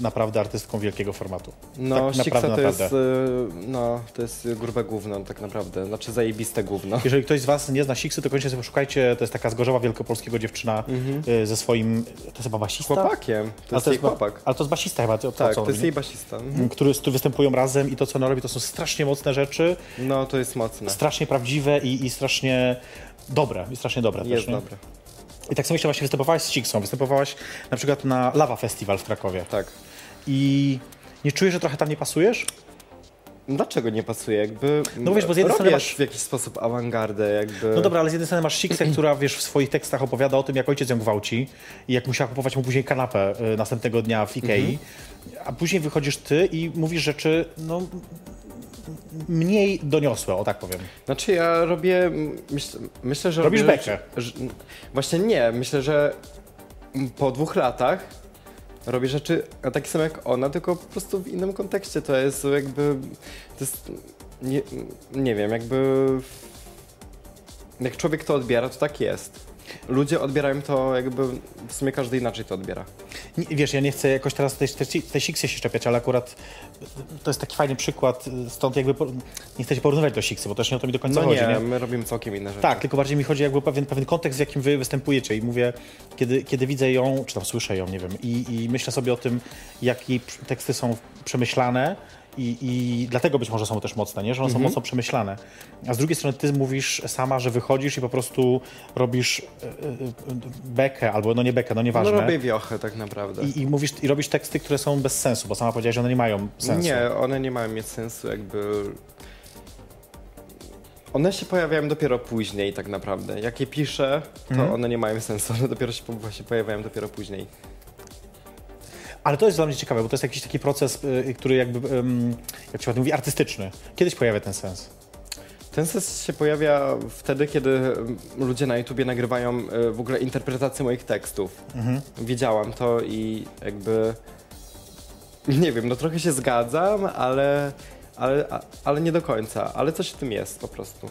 S2: naprawdę artystką wielkiego formatu.
S3: No,
S2: tak
S3: tak
S2: naprawdę,
S3: to jest,
S2: naprawdę.
S3: y, no, to jest grube gówno tak naprawdę. Znaczy zajebiste gówno.
S2: Jeżeli ktoś z Was nie zna Siksy, to koniecznie sobie poszukajcie. To jest taka z Gorzowa wielkopolskiego dziewczyna y, ze swoim. To jest chyba basista?
S3: Chłopakiem. Mhm. To
S2: Ale
S3: jest jej
S2: ba-
S3: chłopak.
S2: Ale to jest basista chyba, to,
S3: Tak,
S2: co on
S3: to jest
S2: robi,
S3: jej basista.
S2: nie? Który, z którym występują razem i to, co ona robi, to są strasznie mocne rzeczy,
S3: No, to jest mocne.
S2: strasznie prawdziwe i, i strasznie dobre. I strasznie dobre
S3: Jest
S2: też, nie?
S3: dobre.
S2: I tak sobie myślę, właśnie występowałaś z Siksą, występowałaś na przykład na Lava Festival w Krakowie.
S3: Tak.
S2: I nie czujesz, że trochę tam nie pasujesz?
S3: Dlaczego nie pasuje? Jakby.
S2: No wiesz, bo z jednej strony
S3: robisz
S2: masz-
S3: w jakiś sposób awangardę, jakby.
S2: No dobra, ale z jednej strony masz Siksę, która wiesz, w swoich tekstach opowiada o tym, jak ojciec ją gwałci i jak musiała kupować mu później kanapę y, następnego dnia w Ikei, a później wychodzisz ty i mówisz rzeczy, no, m- mniej doniosłe, o tak powiem.
S3: Znaczy ja robię, myśl, myślę, że
S2: Robisz
S3: robię,
S2: bekę.
S3: Że, właśnie nie, myślę, że po dwóch latach robię rzeczy takie same jak ona, tylko po prostu w innym kontekście. To jest jakby, to jest, nie, nie wiem, jakby jak człowiek to odbiera, to tak jest. Ludzie odbierają to jakby, w sumie każdy inaczej to odbiera.
S2: Nie, wiesz, ja nie chcę jakoś teraz tej, tej, tej Siksie się szczepiać, ale akurat to jest taki fajny przykład, y, stąd jakby por- nie chcę się porównywać do Siksy, bo też nie o to mi do końca
S3: No
S2: chodzi.
S3: nie,
S2: nie?
S3: my robimy całkiem inne rzeczy.
S2: Tak, tylko bardziej mi chodzi jakby o pewien, pewien kontekst, w jakim wy występujecie i mówię, kiedy, kiedy widzę ją, czy tam słyszę ją, nie wiem, i, i myślę sobie o tym, jak jej pr- teksty są przemyślane i, i dlatego być może są też mocne, nie? że one
S3: Mhm.
S2: są mocno przemyślane. A z drugiej strony ty mówisz sama, że wychodzisz i po prostu robisz e, e, e, bekę, albo no nie bekę, no
S3: no
S2: nieważne.
S3: robię wiochę tak naprawdę.
S2: I, i, mówisz, I robisz teksty, które są bez sensu, bo sama powiedziałaś, że one nie mają sensu.
S3: Nie, one nie mają mieć sensu, jakby. One się pojawiają dopiero później, tak naprawdę. Jak je
S2: Mhm.
S3: piszę, to one nie mają sensu. One dopiero się, po- się pojawiają dopiero później.
S2: Ale to jest dla mnie ciekawe, bo to jest jakiś taki proces, y, który jakby, ym, jak się ładnie mówi, artystyczny. Kiedyś pojawia ten sens.
S3: Ten sens się pojawia wtedy, kiedy mm, ludzie na YouTubie nagrywają y, w ogóle interpretację moich tekstów.
S2: Mhm.
S3: Widziałam to i jakby. Nie wiem, no trochę się zgadzam, ale, ale, a- ale nie do końca. Ale coś w tym jest po prostu.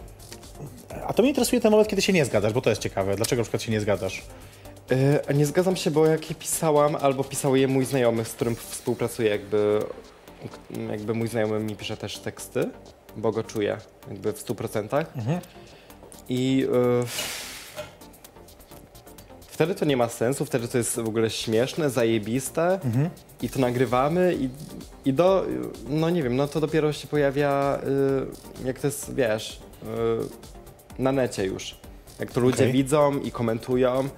S2: A to mnie interesuje ten moment, kiedy się nie zgadzasz, bo to jest ciekawe. Dlaczego na przykład się nie zgadzasz?
S3: Y, nie zgadzam się, bo jak je pisałam, albo pisał je mój znajomy, z którym współpracuję, jakby, jakby mój znajomy mi pisze też teksty, bo go czuję jakby w 100%. I y, wtedy to nie ma sensu, wtedy to jest w ogóle śmieszne, zajebiste
S2: Mhm.
S3: i to nagrywamy i, i do, no nie wiem, no to dopiero się pojawia, y, jak to jest, wiesz, y, na necie już. Jak to ludzie
S2: Okej.
S3: widzą i komentują,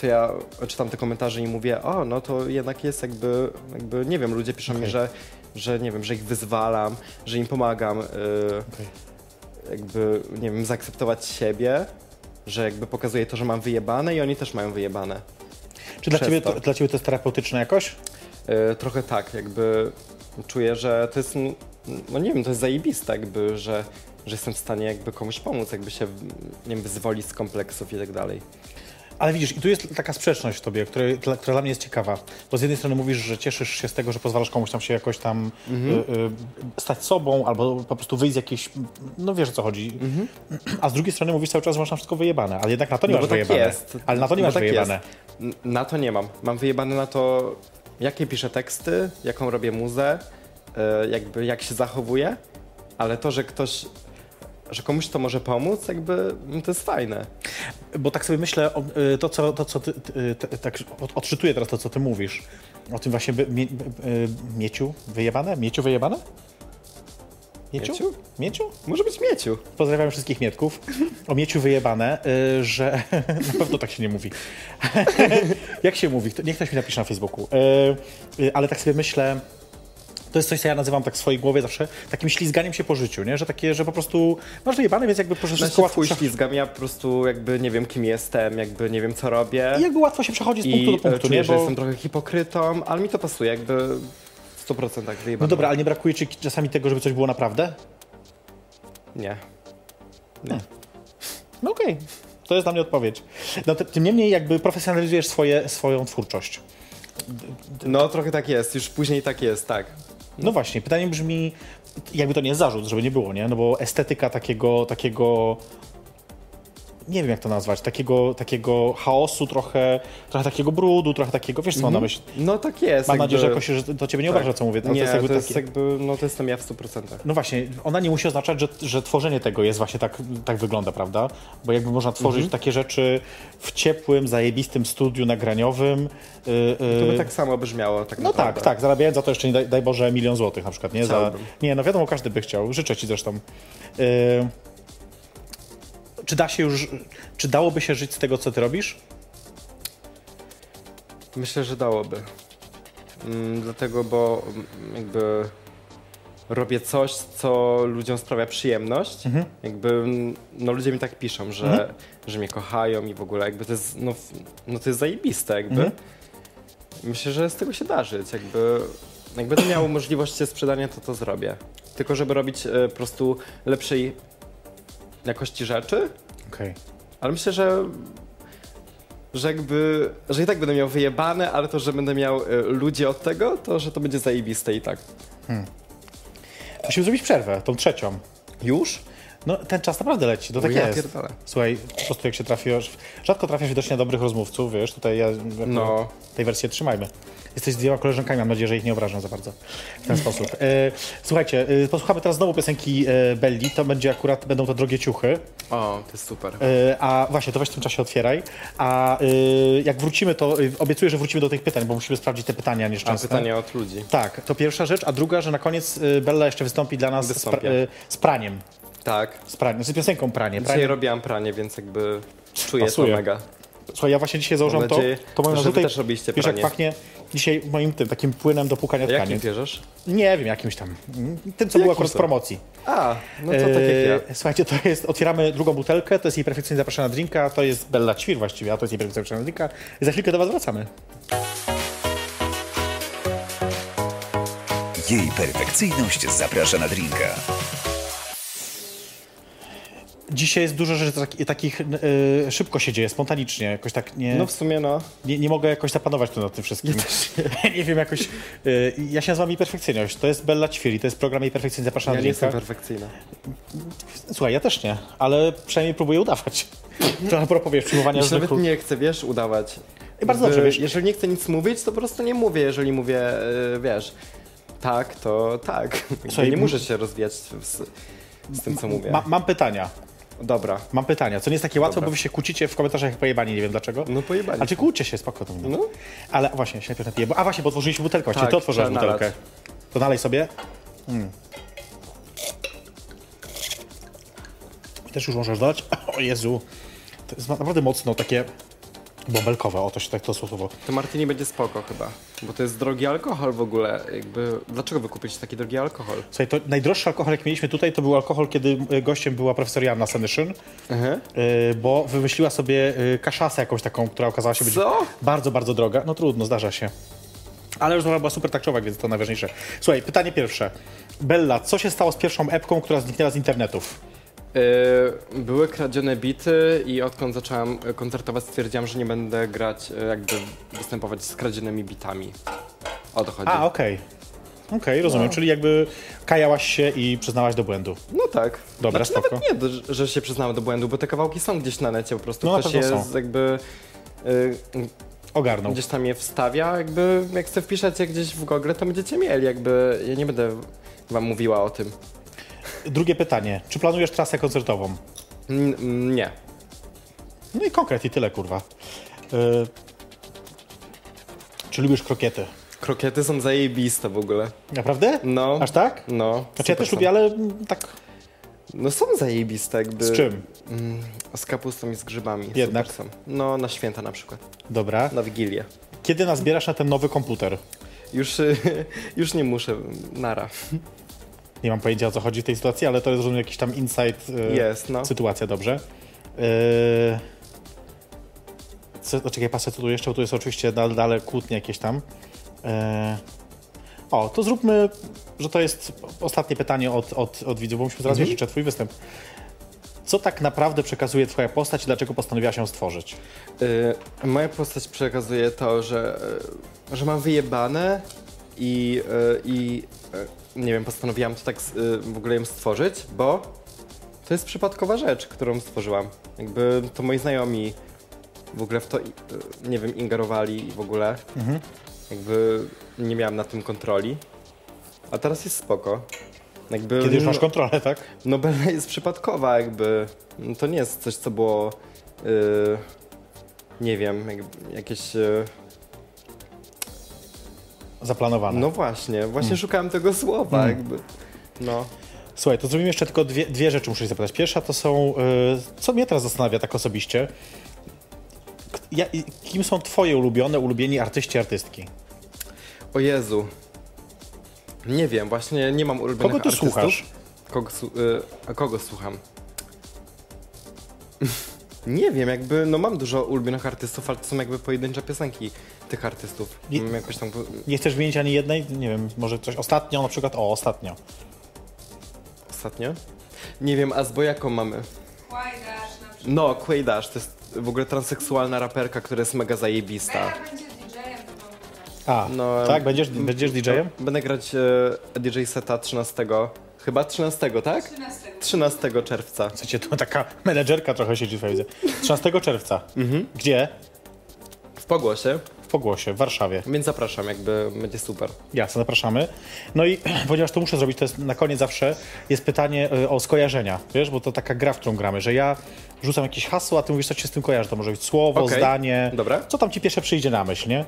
S3: to ja czytam te komentarze i mówię, o, no to jednak jest jakby, jakby nie wiem, ludzie piszą mi,
S2: Okej.
S3: że, że nie wiem, że ich wyzwalam, że im pomagam. y, jakby, nie wiem, zaakceptować siebie, że jakby pokazuje to, że mam wyjebane i oni też mają wyjebane.
S2: Czy dla
S3: Przez
S2: ciebie,
S3: to.
S2: to, dla ciebie to jest terapeutyczne jakoś?
S3: E, trochę tak, jakby czuję, że to jest, mm, no nie wiem, to jest zajebiste jakby, że, że jestem w stanie jakby komuś pomóc, jakby się, mm, nie wiem, wyzwolić z kompleksów i tak dalej.
S2: Ale widzisz, i tu jest taka sprzeczność w tobie, która, która dla mnie jest ciekawa. Bo z jednej strony mówisz, że cieszysz się z tego, że pozwalasz komuś tam się jakoś tam y,
S3: Mhm.
S2: y, stać sobą, albo po prostu wyjść z jakiejś, no wiesz o co chodzi.
S3: Mhm.
S2: A z drugiej strony mówisz cały czas, że masz na wszystko wyjebane, ale jednak na to nie masz
S3: No bo tak
S2: wyjebane. Ale na to nie
S3: No
S2: tak masz
S3: tak
S2: wyjebane.
S3: jest. N- Na to nie mam. Mam wyjebane na to, jakie piszę teksty, jaką robię muzę, e, jakby jak się zachowuję, ale to, że ktoś, że komuś to może pomóc, jakby m, to jest fajne.
S2: Bo tak sobie myślę, o, y, to co, to, co ty, ty, ty, tak od- odczytuję teraz to, co ty mówisz. O tym właśnie by, mie, y, mieciu wyjebane? Mieciu wyjebane?
S3: Mieciu?
S2: Mieciu?
S3: Może być mieciu.
S2: Pozdrawiam wszystkich Mietków. O mieciu wyjebane, y, że <laughs> na pewno tak się nie mówi. <laughs> Jak się mówi? Kto- Niech ktoś mi napisze na Facebooku. Y, y, Ale tak sobie myślę, to jest coś, co ja nazywam tak w swojej głowie zawsze takim ślizganiem się po życiu, nie? Że takie, że po prostu masz wyjebane, więc jakby po prostu
S3: Znaczy
S2: wszystko
S3: w chuj
S2: łatwo,
S3: ślizgam, ja po prostu jakby nie wiem kim jestem, jakby nie wiem co robię.
S2: I jakby łatwo się przechodzi z punktu
S3: I
S2: do punktu,
S3: e, czuję,
S2: nie?
S3: że jestem trochę hipokrytą, ale mi to pasuje, jakby w 100% wyjebane.
S2: No dobra, ale nie brakuje ci czasami tego, żeby coś było naprawdę?
S3: Nie.
S2: No okej, to jest dla mnie odpowiedź. No, ty- tym niemniej jakby profesjonalizujesz swoje, swoją twórczość.
S3: No trochę tak jest, już później tak jest, tak.
S2: No właśnie, pytanie brzmi, jakby to nie jest zarzut, żeby nie było, nie? No bo estetyka takiego, takiego nie wiem jak to nazwać, takiego, takiego chaosu trochę, trochę takiego brudu, trochę takiego, wiesz co mam na myśli?
S3: No tak jest.
S2: Mam
S3: jakby-
S2: nadzieję, że jakoś że do ciebie nie
S3: tak.
S2: obraża, No co mówię. ale
S3: nie,
S2: jakby
S3: to jest
S2: takie-
S3: jakby, no to jestem ja w 100%.
S2: No właśnie, ona nie musi oznaczać, że, że tworzenie tego jest właśnie tak, tak wygląda, prawda? Bo jakby można tworzyć
S3: Mhm.
S2: takie rzeczy w ciepłym, zajebistym studiu nagraniowym. Yy,
S3: To by
S2: yy,
S3: tak samo brzmiało, tak
S2: No
S3: naprawdę.
S2: tak, tak, zarabiając za to jeszcze, nie daj, daj Boże, milion złotych na przykład, nie? Za,
S3: Chciałbym.
S2: nie, no wiadomo, każdy by chciał, życzę ci zresztą. Yy, czy da się już, czy dałoby się żyć z tego, co ty robisz?
S3: Myślę, że dałoby. Mm, dlatego, bo mm, jakby robię coś, co ludziom sprawia przyjemność. Jakby, mm, no ludzie mi tak piszą, że, że mnie kochają i w ogóle jakby to jest, no, f- no to jest zajebiste jakby. Myślę, że z tego się da żyć, jakby... Jakby to miało możliwość sprzedania, to to zrobię. Tylko żeby robić e, po prostu lepszej jakości rzeczy,
S2: Okej.
S3: ale myślę, że. Że jakby. Że i tak będę miał wyjebane, ale to, że będę miał y, ludzi od tego, to że to będzie zajebiste i tak.
S2: Musimy zrobić przerwę, tą trzecią. Już? No, ten czas naprawdę leci, to tak
S3: ja
S2: jest.
S3: pierdolę.
S2: Słuchaj, po prostu jak się trafisz, rzadko trafia się widocznie na dobrych rozmówców, wiesz, tutaj ja
S3: No.
S2: tej wersji trzymajmy. Jesteś z dwiema koleżankami, mam nadzieję, że ich nie obrażam za bardzo w ten sposób. E, słuchajcie, e, posłuchamy teraz znowu piosenki e, Belli, to będzie akurat, będą to drogie ciuchy.
S3: O, to jest super.
S2: E, A właśnie, to weź w tym czasie otwieraj. A e, jak wrócimy, to e, obiecuję, że wrócimy do tych pytań, bo musimy sprawdzić te pytania
S3: A
S2: nieszczęsne.
S3: pytanie od ludzi.
S2: Tak, to pierwsza rzecz, a druga, że na koniec y, Bella jeszcze wystąpi dla nas z,
S3: Wystąpię.
S2: pra, y, z praniem.
S3: Tak.
S2: Z, praniem, z piosenką pranie.
S3: Dzisiaj
S2: pranie.
S3: robiłam pranie, więc jakby czuję
S2: Pasuje.
S3: to mega.
S2: Słuchaj, ja właśnie dzisiaj założyłem
S3: Mam
S2: to.
S3: nadzieję,
S2: To moją
S3: że wy
S2: narzutę i-
S3: też robiliście
S2: Wiesz, jak
S3: pranie.
S2: pachnie dzisiaj moim tym, takim płynem do płukania
S3: Jak nie
S2: tkanin.
S3: wierzysz?
S2: Nie wiem, jakimś tam. Mm, Tym, co było akurat z
S3: to?
S2: promocji.
S3: A, no to tak jak ja.
S2: E, Słuchajnie, to jest, otwieramy drugą butelkę, to jest jej perfekcyjnie zapraszana drinka, to jest Bella Ćwir właściwie, a to jest jej perfekcyjnie zapraszana drinka. Za chwilkę do was wracamy.
S1: Jej perfekcyjność zaprasza na drinka.
S2: Dzisiaj jest dużo rzeczy tak, takich, y, szybko się dzieje, spontanicznie, jakoś tak nie...
S3: No w sumie no.
S2: nie, nie mogę jakoś zapanować tu nad tym wszystkim. <laughs> nie wiem, jakoś. Y, ja się nazywam Perfekcyjność. To jest Bella Ćwili, to jest program Perfekcyjność. Zapraszam
S3: Ja
S2: na
S3: nie jestem
S2: drinka.
S3: perfekcyjna.
S2: Słuchaj, ja też nie, ale przynajmniej próbuję udawać. <laughs> To a propos wiesz, przyjmowania
S3: Ja nawet
S2: zwykłych.
S3: nie chcę, wiesz, udawać.
S2: I bardzo
S3: Jakby,
S2: dobrze, wiesz.
S3: Jeżeli nie chcę nic mówić, to po prostu nie mówię. Jeżeli mówię, y, wiesz, tak, to tak. <laughs>
S2: Słuchaj,
S3: Słuchaj, nie
S2: m-
S3: muszę się rozwijać z, z tym, co mówię.
S2: Ma, mam pytania.
S3: Dobra.
S2: Mam pytania, co nie jest takie łatwe,
S3: Dobra.
S2: bo wy się kłócicie w komentarzach jak pojebani, nie wiem dlaczego.
S3: No pojebani.
S2: A czy kłóćcie się, spoko to mnie.
S3: No.
S2: Ale właśnie, się najpierw napiję, bo, a właśnie, bo otworzyliśmy butelkę, właśnie
S3: Tak,
S2: ty otworzyłeś
S3: trzeba nalać.
S2: butelkę. To nalej sobie. Mm. Też już możesz dodać. <laughs> O Jezu, to jest naprawdę mocno takie bąbelkowe, o to się tak to słowo.
S3: To Martini będzie spoko chyba. Bo to jest drogi alkohol w ogóle. Jakby, dlaczego wy kupicie taki drogi alkohol?
S2: Słuchaj, to najdroższy alkohol, jak mieliśmy tutaj, to był alkohol, kiedy y, gościem była profesor Janna Senyszyn, y, bo wymyśliła sobie y, kaszasę jakąś taką, która okazała się być
S3: Co?
S2: bardzo, bardzo droga. No trudno, zdarza się. Ale rozmowa była super takczowa, więc to najważniejsze. Słuchaj, pytanie pierwsze. Bella, co się stało z pierwszą epką, która zniknęła z internetów?
S3: Y, były kradzione bity i odkąd zacząłem y, koncertować stwierdziłam, że nie będę grać, y, jakby występować z kradzionymi bitami. O to chodzi.
S2: A, okej. Okej, rozumiem. Czyli jakby kajałaś się i przyznałaś do błędu.
S3: No tak.
S2: Dobra,
S3: znaczy,
S2: spoko.
S3: Nawet nie, d- że się przyznałem do błędu, bo te kawałki są gdzieś na necie po prostu.
S2: No, na
S3: Ktoś
S2: pewno
S3: je
S2: są.
S3: z- jakby y,
S2: Ogarnął.
S3: gdzieś tam je wstawia, jakby jak sobie wpiszecie gdzieś w Google, to będziecie mieli, jakby ja nie będę wam mówiła o tym.
S2: Drugie pytanie. Czy planujesz trasę koncertową?
S3: N- m, nie.
S2: No i konkret i tyle, kurwa. Y, Czy lubisz krokiety?
S3: Krokiety są zajebiste w ogóle.
S2: Naprawdę?
S3: No.
S2: Aż tak?
S3: No.
S2: Znaczy ja
S3: super
S2: też
S3: są.
S2: lubię, ale mm, tak
S3: No są zajebiste jakby.
S2: z czym?
S3: Mm, z kapustą i z grzybami.
S2: Jednak.
S3: Super są. No na święta na przykład.
S2: Dobra. No,
S3: Na Wigilię.
S2: Kiedy nazbierasz na ten nowy komputer?
S3: Już, <laughs> y, już nie muszę. Nara.
S2: Nie mam pojęcia o co chodzi w tej sytuacji, ale to jest rozumiem jakiś tam insight. y,
S3: Jest, no.
S2: Sytuacja, dobrze. Yy... Co, czekaj, patrzę co tu jeszcze, bo tu jest oczywiście dalej, dalej kłótnie jakieś tam. Yy... O, to zróbmy, że to jest ostatnie pytanie od, od, od widzów, bo musimy
S3: Mhm.
S2: zaraz jeszcze twój występ. Co tak naprawdę przekazuje twoja postać i dlaczego postanowiłaś ją stworzyć?
S3: Y, moja postać przekazuje to, że, y, że mam wyjebane i, y, i y, nie wiem, postanowiłam to tak s- y, w ogóle ją stworzyć, bo to jest przypadkowa rzecz, którą stworzyłam. Jakby to moi znajomi w ogóle w to, y, nie wiem, ingerowali i w ogóle.
S2: Mhm.
S3: Jakby nie miałam na tym kontroli. A teraz jest spoko. Jakby,
S2: Kiedy już
S3: no-
S2: masz kontrolę, tak?
S3: no Bella jest przypadkowa jakby. No, To nie jest coś, co było, yy, nie wiem, jak, jakieś... Yy,
S2: Zaplanowane.
S3: no właśnie, właśnie
S2: Mm.
S3: szukałem tego słowa jakby. No.
S2: Słuchaj, to zrobimy jeszcze tylko dwie, dwie rzeczy, muszę się zapytać. Pierwsza to są, y, co mnie teraz zastanawia tak osobiście, K- ja, i- kim są twoje ulubione, ulubieni artyści, artystki?
S3: O Jezu. Nie wiem, właśnie nie mam ulubionych
S2: Kogo tu
S3: artystów.
S2: słuchasz?
S3: Kogo, su- y, a kogo słucham? <laughs> nie wiem, jakby, no mam dużo ulubionych artystów, ale to są jakby pojedyncze piosenki tych artystów.
S2: Nie-
S3: Mam jakoś tam...
S2: Nie chcesz wymienić ani jednej? Nie wiem, może coś ostatnio na przykład? O, ostatnio.
S3: Ostatnio? Nie wiem, a z Bojaką mamy?
S4: Łajdasz na przykład.
S3: No, Quaidash to jest w ogóle transseksualna raperka, która jest mega zajebista.
S4: Bela będzie DJ-em, to mam pytać.
S2: A,
S3: No,
S2: tak?
S3: em,
S2: Będziesz, będziesz DJ-em?
S3: Będę grać e, DJ seta 13, chyba 13, tak?
S4: 13.
S3: 13 czerwca.
S2: W sensie to taka <laughs> menedżerka trochę siedzi tutaj, widzę. 13 czerwca. Gdzie?
S3: W pogłosie,
S2: W Pogłosie, w Warszawie.
S3: więc zapraszam, jakby będzie super.
S2: Jasne, zapraszamy. No i <clears throat> ponieważ to muszę zrobić, to jest na koniec zawsze jest pytanie y, o skojarzenia, wiesz, bo to taka gra, w którą gramy, że ja rzucam jakieś hasło, a ty mówisz, co ci się z tym kojarzy. To może być słowo,
S3: Okej,
S2: zdanie,
S3: dobra.
S2: co tam ci pierwsze przyjdzie na myśl, nie?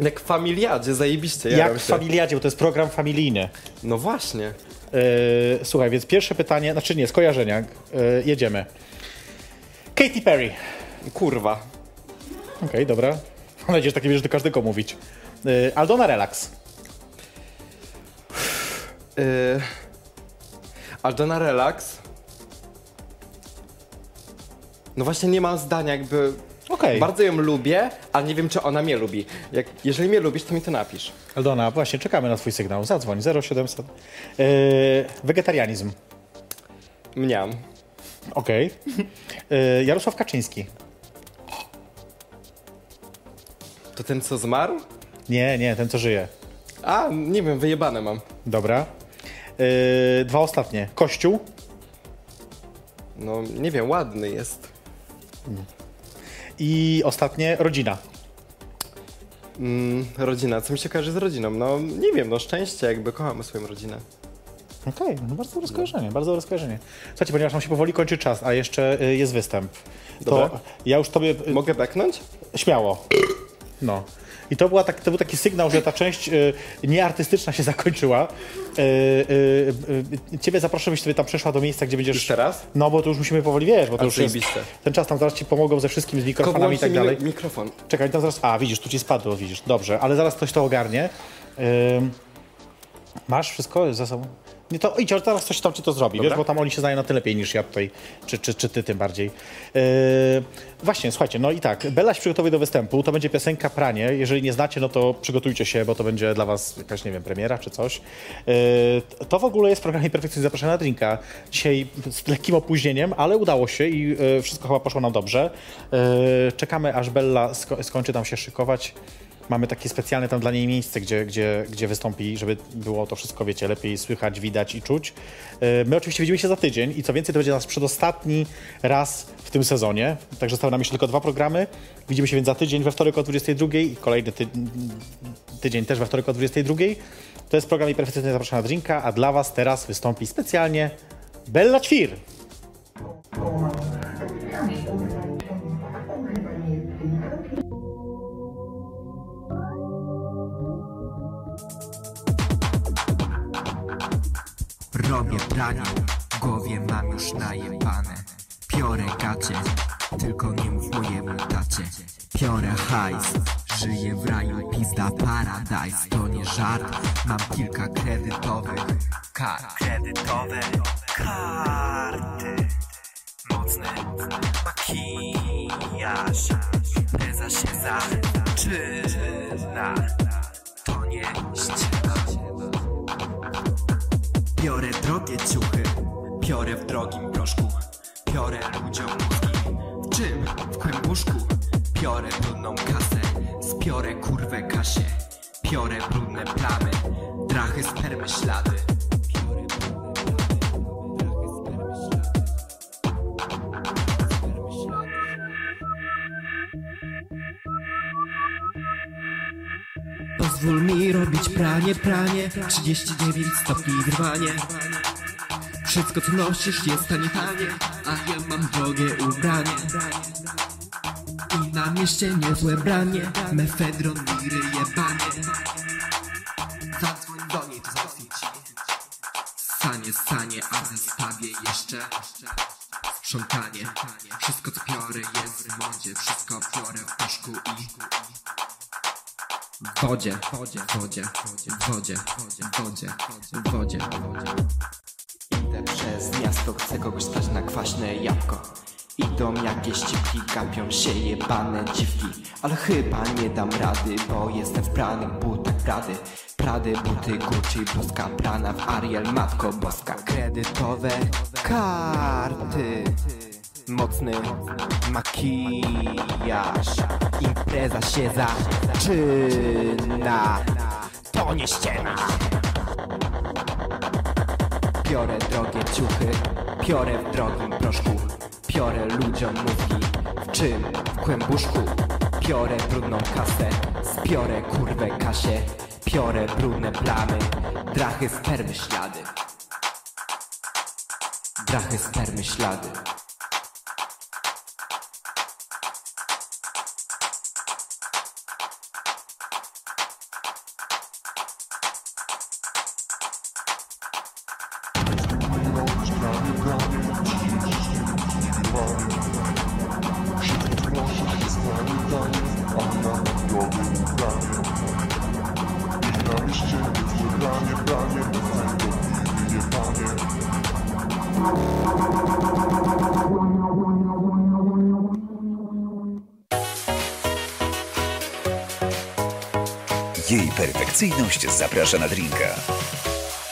S3: Jak w familiadzie, zajebiście.
S2: Jak
S3: jaram
S2: w
S3: się.
S2: familiadzie, bo to jest program familijny.
S3: No właśnie.
S2: Y, słuchaj, więc pierwsze pytanie, znaczy nie, skojarzenia, y, jedziemy. Katy Perry.
S3: Kurwa.
S2: Okej, dobra. Mam nadzieję, że takie wiesz, do każdego mówić. Y, Aldona Relax.
S3: Yy... Aldona Relax. No właśnie nie mam zdania, jakby...
S2: No Okej.
S3: Bardzo ją lubię, ale nie wiem, czy ona mnie lubi. Jak, jeżeli mnie lubisz, to mi to napisz.
S2: Aldona, właśnie czekamy na twój sygnał. Zadzwoń 0700. Yy, wegetarianizm.
S3: Mniam.
S2: Okej. <laughs> Yy, Jarosław Kaczyński.
S3: To ten, co zmarł?
S2: Nie, nie, ten co żyje.
S3: A, nie wiem, wyjebane mam.
S2: Dobra. Yy, dwa ostatnie. Kościół.
S3: No, nie wiem, ładny jest. <laughs>
S2: I ostatnie rodzina.
S3: Mm, rodzina, co mi się kojarzy z rodziną? No, nie wiem, no szczęście, jakby kocham swoją rodzinę.
S2: Okej, no bardzo dobre skojarzenie, bardzo dobre skojarzenie. Słuchajcie, ponieważ nam się powoli kończy czas, a jeszcze y, jest występ, to
S3: Dobra.
S2: ja już tobie... y,
S3: Mogę beknąć?
S2: Śmiało. No. I to, była tak, to był taki sygnał, że ta część y, nieartystyczna się zakończyła. Y, y, y, ciebie zaproszę, byś sobie tam przeszła do miejsca, gdzie będziesz...
S3: Już teraz?
S2: No, bo to już musimy powoli, wiesz, bo to
S3: A,
S2: już jest...
S3: zajebiste.
S2: Ten czas tam zaraz ci pomogą ze wszystkim, z
S3: Tylko
S2: mikrofonami i tak
S3: włączcie mi
S2: dalej.
S3: mikrofon.
S2: Czekaj, tam zaraz. A, widzisz, tu ci spadło, widzisz. Dobrze, ale zaraz ktoś to ogarnie. Ym, masz wszystko ze sobą? Nie, to idź, ale zaraz ktoś tam ci to zrobi,
S3: Dobra.
S2: wiesz, bo tam oni się znają na tyle lepiej niż ja tutaj, czy, czy, czy ty tym bardziej. Yy, właśnie, słuchajcie, no i tak, Bela się przygotowuje do występu, to będzie piosenka Pranie, jeżeli nie znacie, no to przygotujcie się, bo to będzie dla was jakaś, nie wiem, premiera czy coś. Yy, to w ogóle jest program Imperfekcyjny Zapraszam na Drinka, dzisiaj z lekkim opóźnieniem, ale udało się i yy, wszystko chyba poszło nam dobrze. Yy, czekamy, aż Bella sko- skończy tam się szykować. Mamy takie specjalne tam dla niej miejsce, gdzie, gdzie, gdzie wystąpi, żeby było to wszystko, wiecie, lepiej słychać, widać i czuć. E, My oczywiście widzimy się za tydzień i co więcej, to będzie nasz przedostatni raz w tym sezonie, także zostały nam jeszcze tylko dwa programy. Widzimy się więc za tydzień we wtorek o 22 i kolejny ty tydzień też we wtorek o 22. To jest program Imperfekcyjny Zapraszam na Drinka, a dla Was teraz wystąpi specjalnie Bella Ćwir.
S5: Robię pranie, w głowie mam już najebane Piorę gacie, tylko nie mów mojemu tacie Piorę hajs, żyję w raju, pizda paradise To nie żart, mam kilka kredytowych kart Kredytowe karty Mocny makijaż Teza się zaczyna To nie ściema Biorę drogie ciuchy, piorę w drogim proszku, piorę ludziom mózgi. W czym? W kłębuszku. Piorę brudną kasę, spiorę kurwę kasię, piorę brudne plamy, drachy spermy ślady. Piorę brudne plamy, drachy, spermy, ślady. Spermy, ślady. Pozwól mi robić pranie, pranie 39 stopni drwanie Wszystko co nosisz jest tanie, tanie A ja mam drogie ubranie I na mieście niezłe branie Mefedron, liry, jebanie Zadzwoń do niej, to załatwi ci Sanie, sanie, a w zestawie jeszcze Sprzątanie Wszystko co piorę jest w modzie Wszystko piorę w koszku i w wodzie, w wodzie, w wodzie, w wodzie, w wodzie, w wodzie, w wodzie. Idę przez miasto, chcę kogoś stać na kwaśne jabłko. Idą jakieś cipki, gapią się jebane dziwki. Ale chyba nie dam rady, bo jestem w pranych butach Prady. Prady, buty, Gucci, bluzka prana w Ariel, matko boska. Kredytowe karty. Mocny makijaż. Impreza się zaczyna. To nie ściema. Piorę drogie ciuchy, piorę w drogim proszku Piorę ludziom mózgi, w czym? W kłębuszku Piorę brudną kasę, spiorę kurwę kasię Piorę brudne plamy, drachy spermy ślady Drachy spermy ślady
S1: Atrakcyjność zaprasza na drinka.